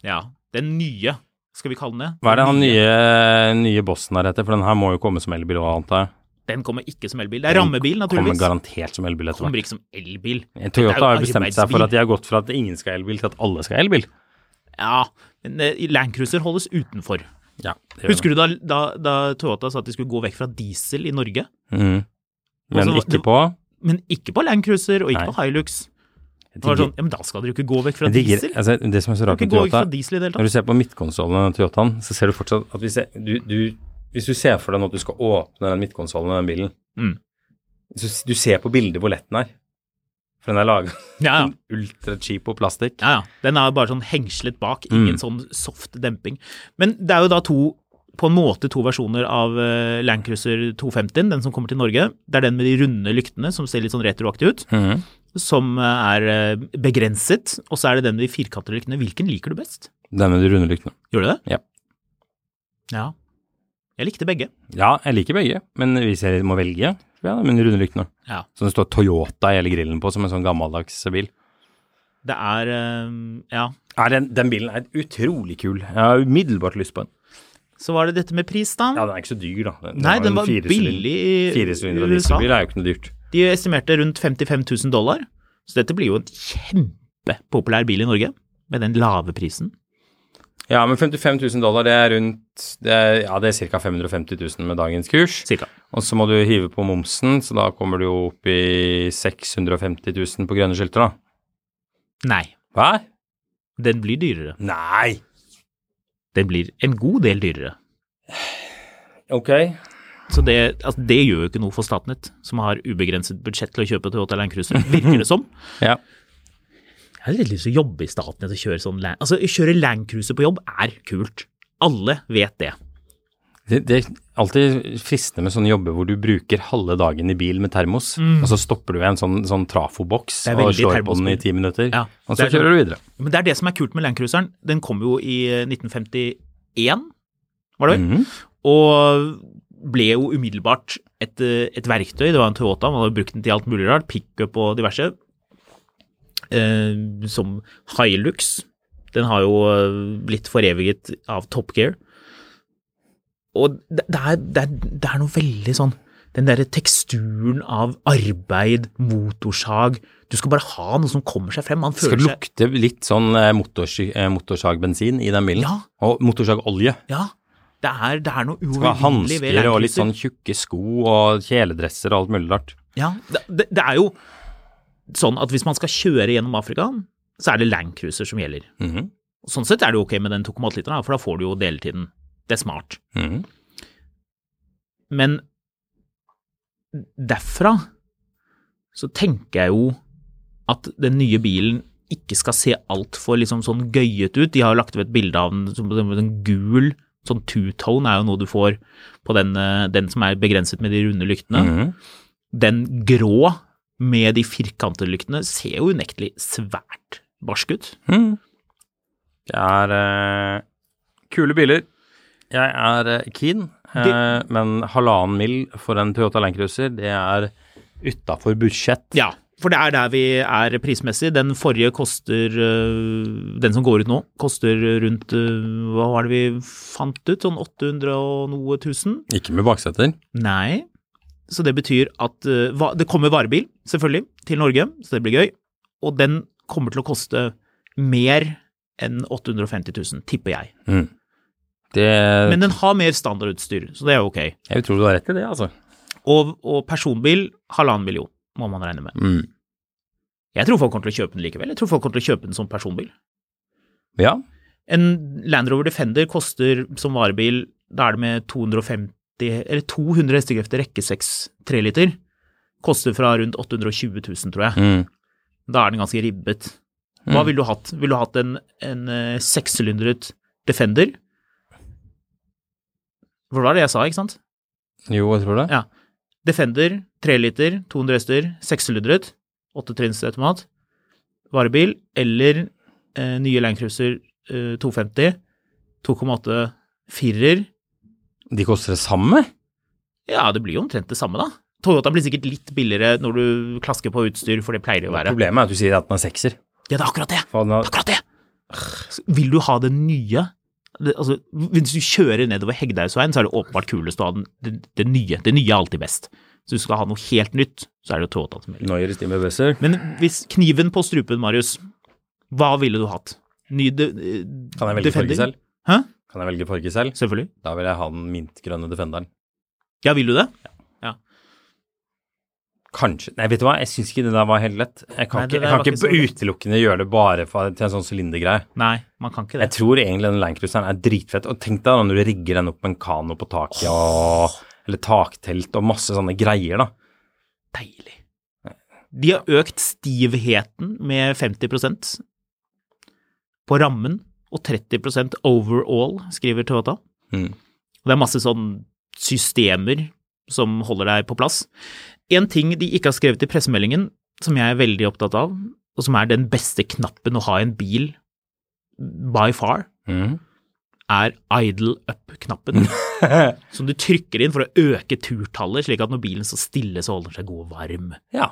Ja, den nye. skal vi kalle den det.
Hva er det han nye, nye bossen her heter? For den her må jo komme som elbil og annet. da.
Den kommer ikke som elbil. Det er rammebil,
Kommer
naturligvis.
garantert som elbil etter
Kommer
hvert.
ikke som elbil.
Toyota har jo
Dette er
bestemt seg for at
arbeidsbil.
de har gått fra at ingen skal ha elbil, til at alle skal ha elbil.
Ja, men eh, Land Cruiser holdes utenfor.
Ja, det gjør
Husker du da, da, da Toyota sa at de skulle gå vekk fra diesel i Norge?
det. Mhm. Men
Altså,
ikke på
Men ikke på Land Cruiser og ikke
Nei.
på Hilux.
Jeg
Det var
digger-
sånn, ja, men da skal dere jo ikke gå vekk fra
jeg digger-
diesel.
altså, Det som er så
Dere
rart
kan
med
ikke gå vekk
Toyota
fra diesel i det hele
Når
tatt.
du ser på midtkonsollen til Toyotaen, så ser du fortsatt at hvis, jeg, du, du, hvis du ser for deg nå at du skal åpne den midtkonsollen i den bilen,
Mm.
så s- du ser på bildet hvor lett den er. For den er laga
Ja, ja.
ultracheap og plastikk.
Ja, ja. Den er bare sånn hengslet bak, ingen
Mm.
sånn soft demping. Men det er jo da to, på en måte to versjoner av eh, Land Cruiser 250, den som kommer til Norge. Det er den med de runde lyktene som ser litt sånn retroaktig ut,
Mhm.
som eh, er eh, begrenset. Og så er det den med de firkantede lyktene. Hvilken liker du best?
Den med de runde lyktene.
Gjør du det?
Ja.
Ja. Jeg likte begge.
Ja, jeg liker begge, men hvis jeg må velge, så ja, men de runde lyktene.
Ja.
Så det står Toyota i hele grillen på, som en sånn gammeldags bil.
Det er eh, Ja.
Ja, den, den bilen er utrolig kul. Jeg har umiddelbart lyst på den.
Så var det dette med pris, da.
Ja, den er ikke så dyr, da. Den,
Nei, den
en
var
firesylind-
billig i
Firesylinder og
USA.
dieselbil er jo ikke noe dyrt.
De estimerte rundt 55 000 dollar, så dette blir jo en kjempepopulær bil i Norge, med den lave prisen.
Ja, men 55 000 dollar, det er rundt det er, Ja, det er ca. 550 000 med dagens kurs.
Cirka.
Og så må du hive på momsen, så da kommer du jo opp i 650 000 på grønne skilter, da.
Nei,
Hva?
den blir dyrere.
Nei!
Den blir en god del dyrere.
Ok.
Så det, altså det gjør jo ikke noe for Statnett, som har ubegrenset budsjett til å kjøpe Toyota Land Cruiser, virker det som.
Ja.
Jeg har litt lyst til å jobbe i Statnett og kjøre sånn Land... Altså, å kjøre Land Cruiser på jobb er kult. Alle vet det.
Det, det er alltid fristende med sånne jobber hvor du bruker halve dagen i bil med termos, og så stopper du i en sånn, sånn trafoboks
Mm. Det er
og
veldig
slår på den i
termosbil.
ti minutter,
Ja,
og så
det er sånn-
kjører du videre.
Men det er det som er kult med Land Cruiseren. Den kom jo i eh, 1951, var det vel? Og ble jo umiddelbart et, eh, et verktøy. Det var en Toyota, man hadde brukt den til alt mulig rart. Pickup og diverse. Eh, som Hilux. Den har jo eh, blitt foreviget av Top Gear. Og det, det, er, det, er, det er noe veldig sånn Den derre teksturen av arbeid, motorsag Du skal bare ha noe som kommer seg frem. Man
Det skal
føler seg
lukte litt sånn eh, motorsy- eh, motorsagbensin i den bilen,
Ja.
og motorsagolje.
Ja, det er, det er noe
Det var
uovervinnelig
hansker
ved
og litt
lærkrysser.
sånn tjukke sko og kjeledresser og alt mulig rart.
Ja, det, det, det er jo sånn at hvis man skal kjøre gjennom Afrika, så er det landcruiser som gjelder.
Mhm,
Sånn sett er det jo ok med den 2,8 literen, da, for da får du jo deletiden. Det er smart.
mhm.
Men derfra så tenker jeg jo at den nye bilen ikke skal se altfor liksom sånn gøyet ut. De har jo lagt ved et bilde av den som som en gul sånn two-tone er jo noe du får på den, eh, den som er begrenset med de runde lyktene.
Mhm.
Den grå med de firkantede lyktene ser jo unektelig svært barsk ut.
Mhm. Det er eh, kule biler. Jeg er eh, keen, eh, men halvannen mil for en Toyota Land Cruiser, det er utafor budsjett.
Ja, for det er der vi er prismessig. Den forrige koster øh, Den som går ut nå, koster rundt øh, Hva var det vi fant ut? Sånn 800 og noe tusen?
Ikke med bakseter.
Nei. Så det betyr at øh, va- Det kommer varebil, selvfølgelig, til Norge, så det blir gøy. Og den kommer til å koste mer enn 850 000, tipper jeg.
Det,
Men den har mer standardutstyr, så det er jo ok.
jeg tror du har rett i det, altså.
Og, og personbil, halvannen million, må man regne med.
Mm.
Jeg tror folk kommer til å kjøpe den likevel. Jeg tror folk kommer til å kjøpe den som personbil.
Ja.
En Land Rover Defender koster som varebil, da er det med 250, eller 200 hestekrefter rekke 6 3-liter. Koster fra rundt 820 000, tror jeg.
Mm.
Da er den ganske ribbet. Hva ville du hatt? Ville du hatt en, en eh, sekssylindret Defender? For det var det jeg sa, ikke sant?
Jo, jeg tror det.
Ja. Defender, 3-liter, 200 hester, sekssylindret, 8-trinns automat, varebil, eller eh, nye Land Cruiser eh, 250, 2,8 firer.
De koster det samme?
Ja, det blir jo omtrent det samme, da. Toyota blir sikkert litt billigere når du klasker på utstyr, for det pleier det å være.
Problemet er at du sier at den er sekser.
Ja, det er akkurat det!
For den
Det
har-
er akkurat det! Så Vil du ha den nye? det, altså, Hvis du kjører nedover Hegdehaugsveien, så er det åpenbart kulest å ha den, det, det nye. Det nye er alltid best. Så hvis du skal ha noe helt nytt, så er det jo Toyota som gjelder.
Neuer Steamer Besser.
Men hvis kniven på strupen, Marius, hva ville du hatt? Ny de, eh,
Kan jeg velge
Defender?
farge selv?
Hæ?
Kan jeg velge farge selv?
Selvfølgelig.
Da vil jeg ha den mintgrønne Defenderen.
Ja, vil du det?
Kanskje Nei, vet du hva, jeg syns ikke det der var helt lett. Jeg kan
Nei, det
ikke, jeg
der
kan
var
ikke,
ikke så lett.
utelukkende gjøre det bare for, til en sånn sylindergreie.
Nei, man kan ikke
Jeg
det.
tror egentlig den Landcruiseren er dritfett. Og tenk deg da når du rigger den opp med en kano på taket og Eller taktelt og masse sånne greier, da.
Deilig. De har økt stivheten med 50 på rammen og 30 overall, skriver Toyota.
Mm.
Det er masse sånn systemer som holder deg på plass. En ting de ikke har skrevet i pressemeldingen, som jeg er veldig opptatt av, og som er den beste knappen å ha i en bil by far,
Mm.
er idle up-knappen. som du trykker inn for å øke turtallet, slik at når bilen står stille, så holder den seg god og varm.
Ja.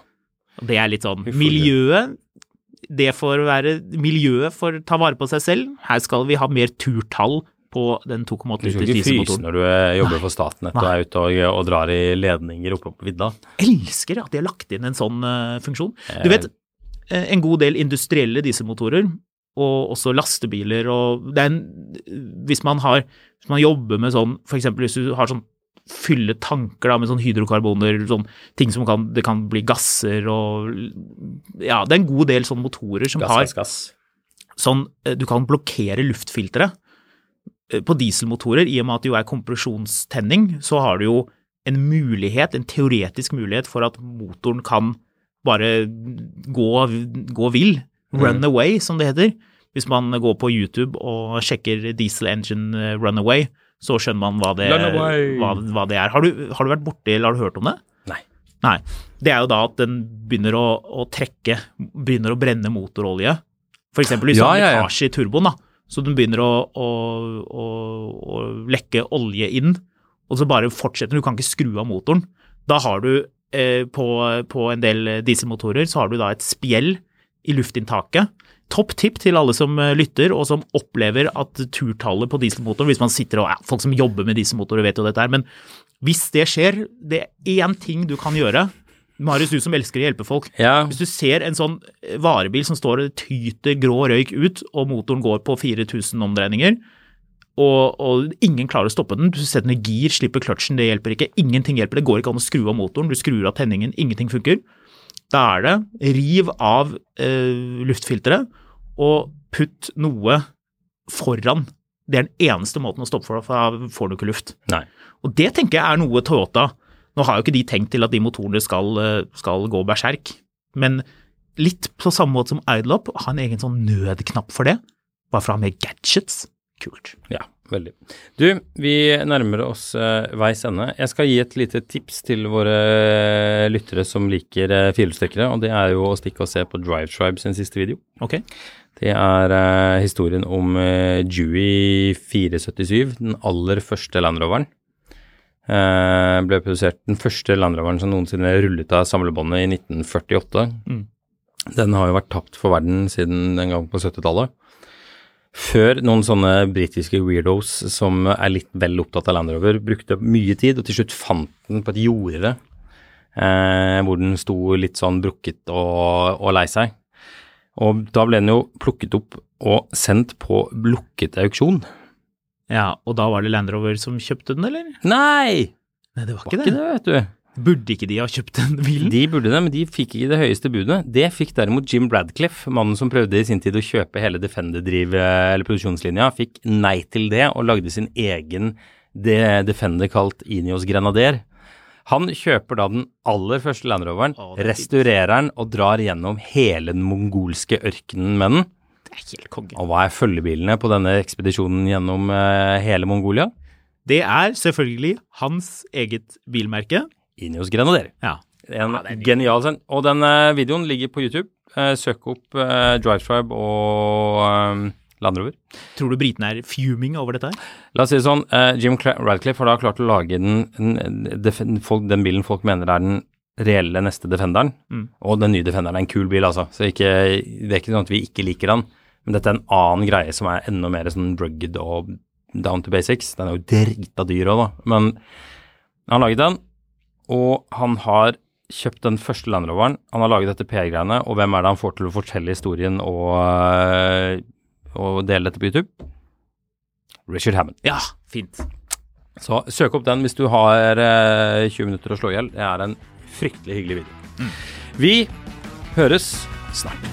Og Det er litt sånn
Vi får
Miljøet, det får være Miljøet får ta vare på seg selv. Her skal vi ha mer turtall på den 2,8
Du
liters
skal ikke fryse
dieselmotoren.
når du eh, jobber for Statnett og
Nei.
er ute og, og drar i ledninger oppe på vidda.
elsker at de har lagt inn en sånn eh, funksjon. Du vet, eh, en god del industrielle dieselmotorer, og også lastebiler og det er en, Hvis man har Hvis man jobber med sånn For eksempel hvis du har sånn fylle tanker da, med sånn hydrokarboner, sånn ting som kan Det kan bli gasser og Ja, det er en god del sånne motorer som har
gass.
sånn eh, Du kan blokkere luftfilteret. Eh, På dieselmotorer, i og med at det jo er kompresjonstenning, så har du jo en mulighet, en teoretisk mulighet for at motoren kan bare gå, gå vill.
Mm.
Run away, som det heter. Hvis man går på YouTube og sjekker diesel engine eh, runaway, så skjønner man hva det,
Run away.
hva, hva det er. Har du, har du vært borti eller har du hørt om det?
Nei.
Nei. Det er jo da at den begynner å, å trekke, begynner å brenne motorolje. For eksempel hvis
Ja,
det er
ja, ja.
lekkasje i turboen, da. Så den begynner å, å, å, å lekke olje inn, og så bare fortsetter den. Du kan ikke skru av motoren. Da har du eh, på, på en del dieselmotorer så har du da et spjeld i luftinntaket. Topp tipp til alle som eh, lytter og som opplever at turtallet på dieselmotoren Hvis man sitter og ja, Folk som jobber med dieselmotorer vet jo dette her, men hvis det skjer, det er én ting du kan gjøre. Marius, du som elsker å hjelpe folk.
Ja.
Hvis du ser en sånn varebil som står og tyter grå røyk ut, og motoren går på 4000 omdreininger, og, og ingen klarer å stoppe den. Du setter den i gir, slipper kløtsjen, det hjelper ikke. Ingenting hjelper. Det går ikke an å skru av motoren. Du skrur av tenningen, ingenting funker. Da er det riv av eh, luftfilteret og putt noe foran. Det er den eneste måten å stoppe for deg, for da får du ikke luft.
Nei.
Og det tenker jeg er noe Toyota Nå har jo ikke de tenkt til at de motorene skal, eh, skal gå berserk, men litt på samme måte som Idlop, ha en egen sånn nødknapp for det. Bare for å ha mer gadgets. Kult.
Ja, veldig. Du, vi nærmer oss eh, veis ende. Jeg skal gi et lite tips til våre lyttere som liker uh, firehjulstrekkere, og det er jo å stikke og se på Drive Tribe sin siste video.
Ok.
Det er eh, historien om uh, Dewey 477, den aller første Land Roveren. Eh, ble produsert den første Land Roveren som noensinne rullet av samlebåndet i 1948. Den har jo vært tapt for verden siden den gang på 70-tallet. Før noen sånne britiske weirdos som er litt vel opptatt av Land Rover, brukte mye tid, og til slutt fant den på et jorde, eh, hvor den sto litt sånn brukket og, og lei seg. Og da ble den jo plukket opp og sendt på lukket auksjon.
Ja, og da var det Land Rover som kjøpte den, eller?
Nei!
Nei, det var
Var ikke det, vet du.
Burde ikke de ha kjøpt den bilen?
De burde det, men de fikk ikke det høyeste budet. Det fikk derimot Jim Bradcliffe, mannen som prøvde i sin tid å kjøpe hele Defender-driv- eller produksjonslinja, fikk nei til det og lagde sin egen de- Defender kalt Inios Grenader. Han kjøper da den aller første Land Roveren,
Å, det er fint.
restaurerer den og drar gjennom hele den mongolske ørkenen med den.
Det er helt konge.
Og hva er følgebilene på denne ekspedisjonen gjennom eh, hele Mongolia?
Det er selvfølgelig hans eget bilmerke.
Inios Grenader.
Ja.
En genial send. Og den eh, videoen ligger på YouTube. Eh, søk opp eh, Drive Tribe og eh, Land Rover.
Tror du britene er fuming over dette her?
La oss si det sånn, eh, Jim Cla- Radcliffe har da klart å lage den, den, def- folk, den bilen folk mener er den reelle neste Defenderen. Og den nye Defenderen er en kul bil, altså. Så ikke, det er ikke sånn at vi ikke liker den. Men dette er en annen greie som er enda mer sånn rugged og down to basics. Den er jo drita dyr òg, da. Men han har laget den, og han har kjøpt den første Land Roveren. Han har laget dette PR-greiene, og hvem er det han får til å fortelle historien og, øh, og dele dette på YouTube? Richard Hammond.
Ja, fint.
Så søk opp den hvis du har øh, 20 minutter å slå i hjel. Det er en fryktelig hyggelig video.
Mm.
Vi høres snart.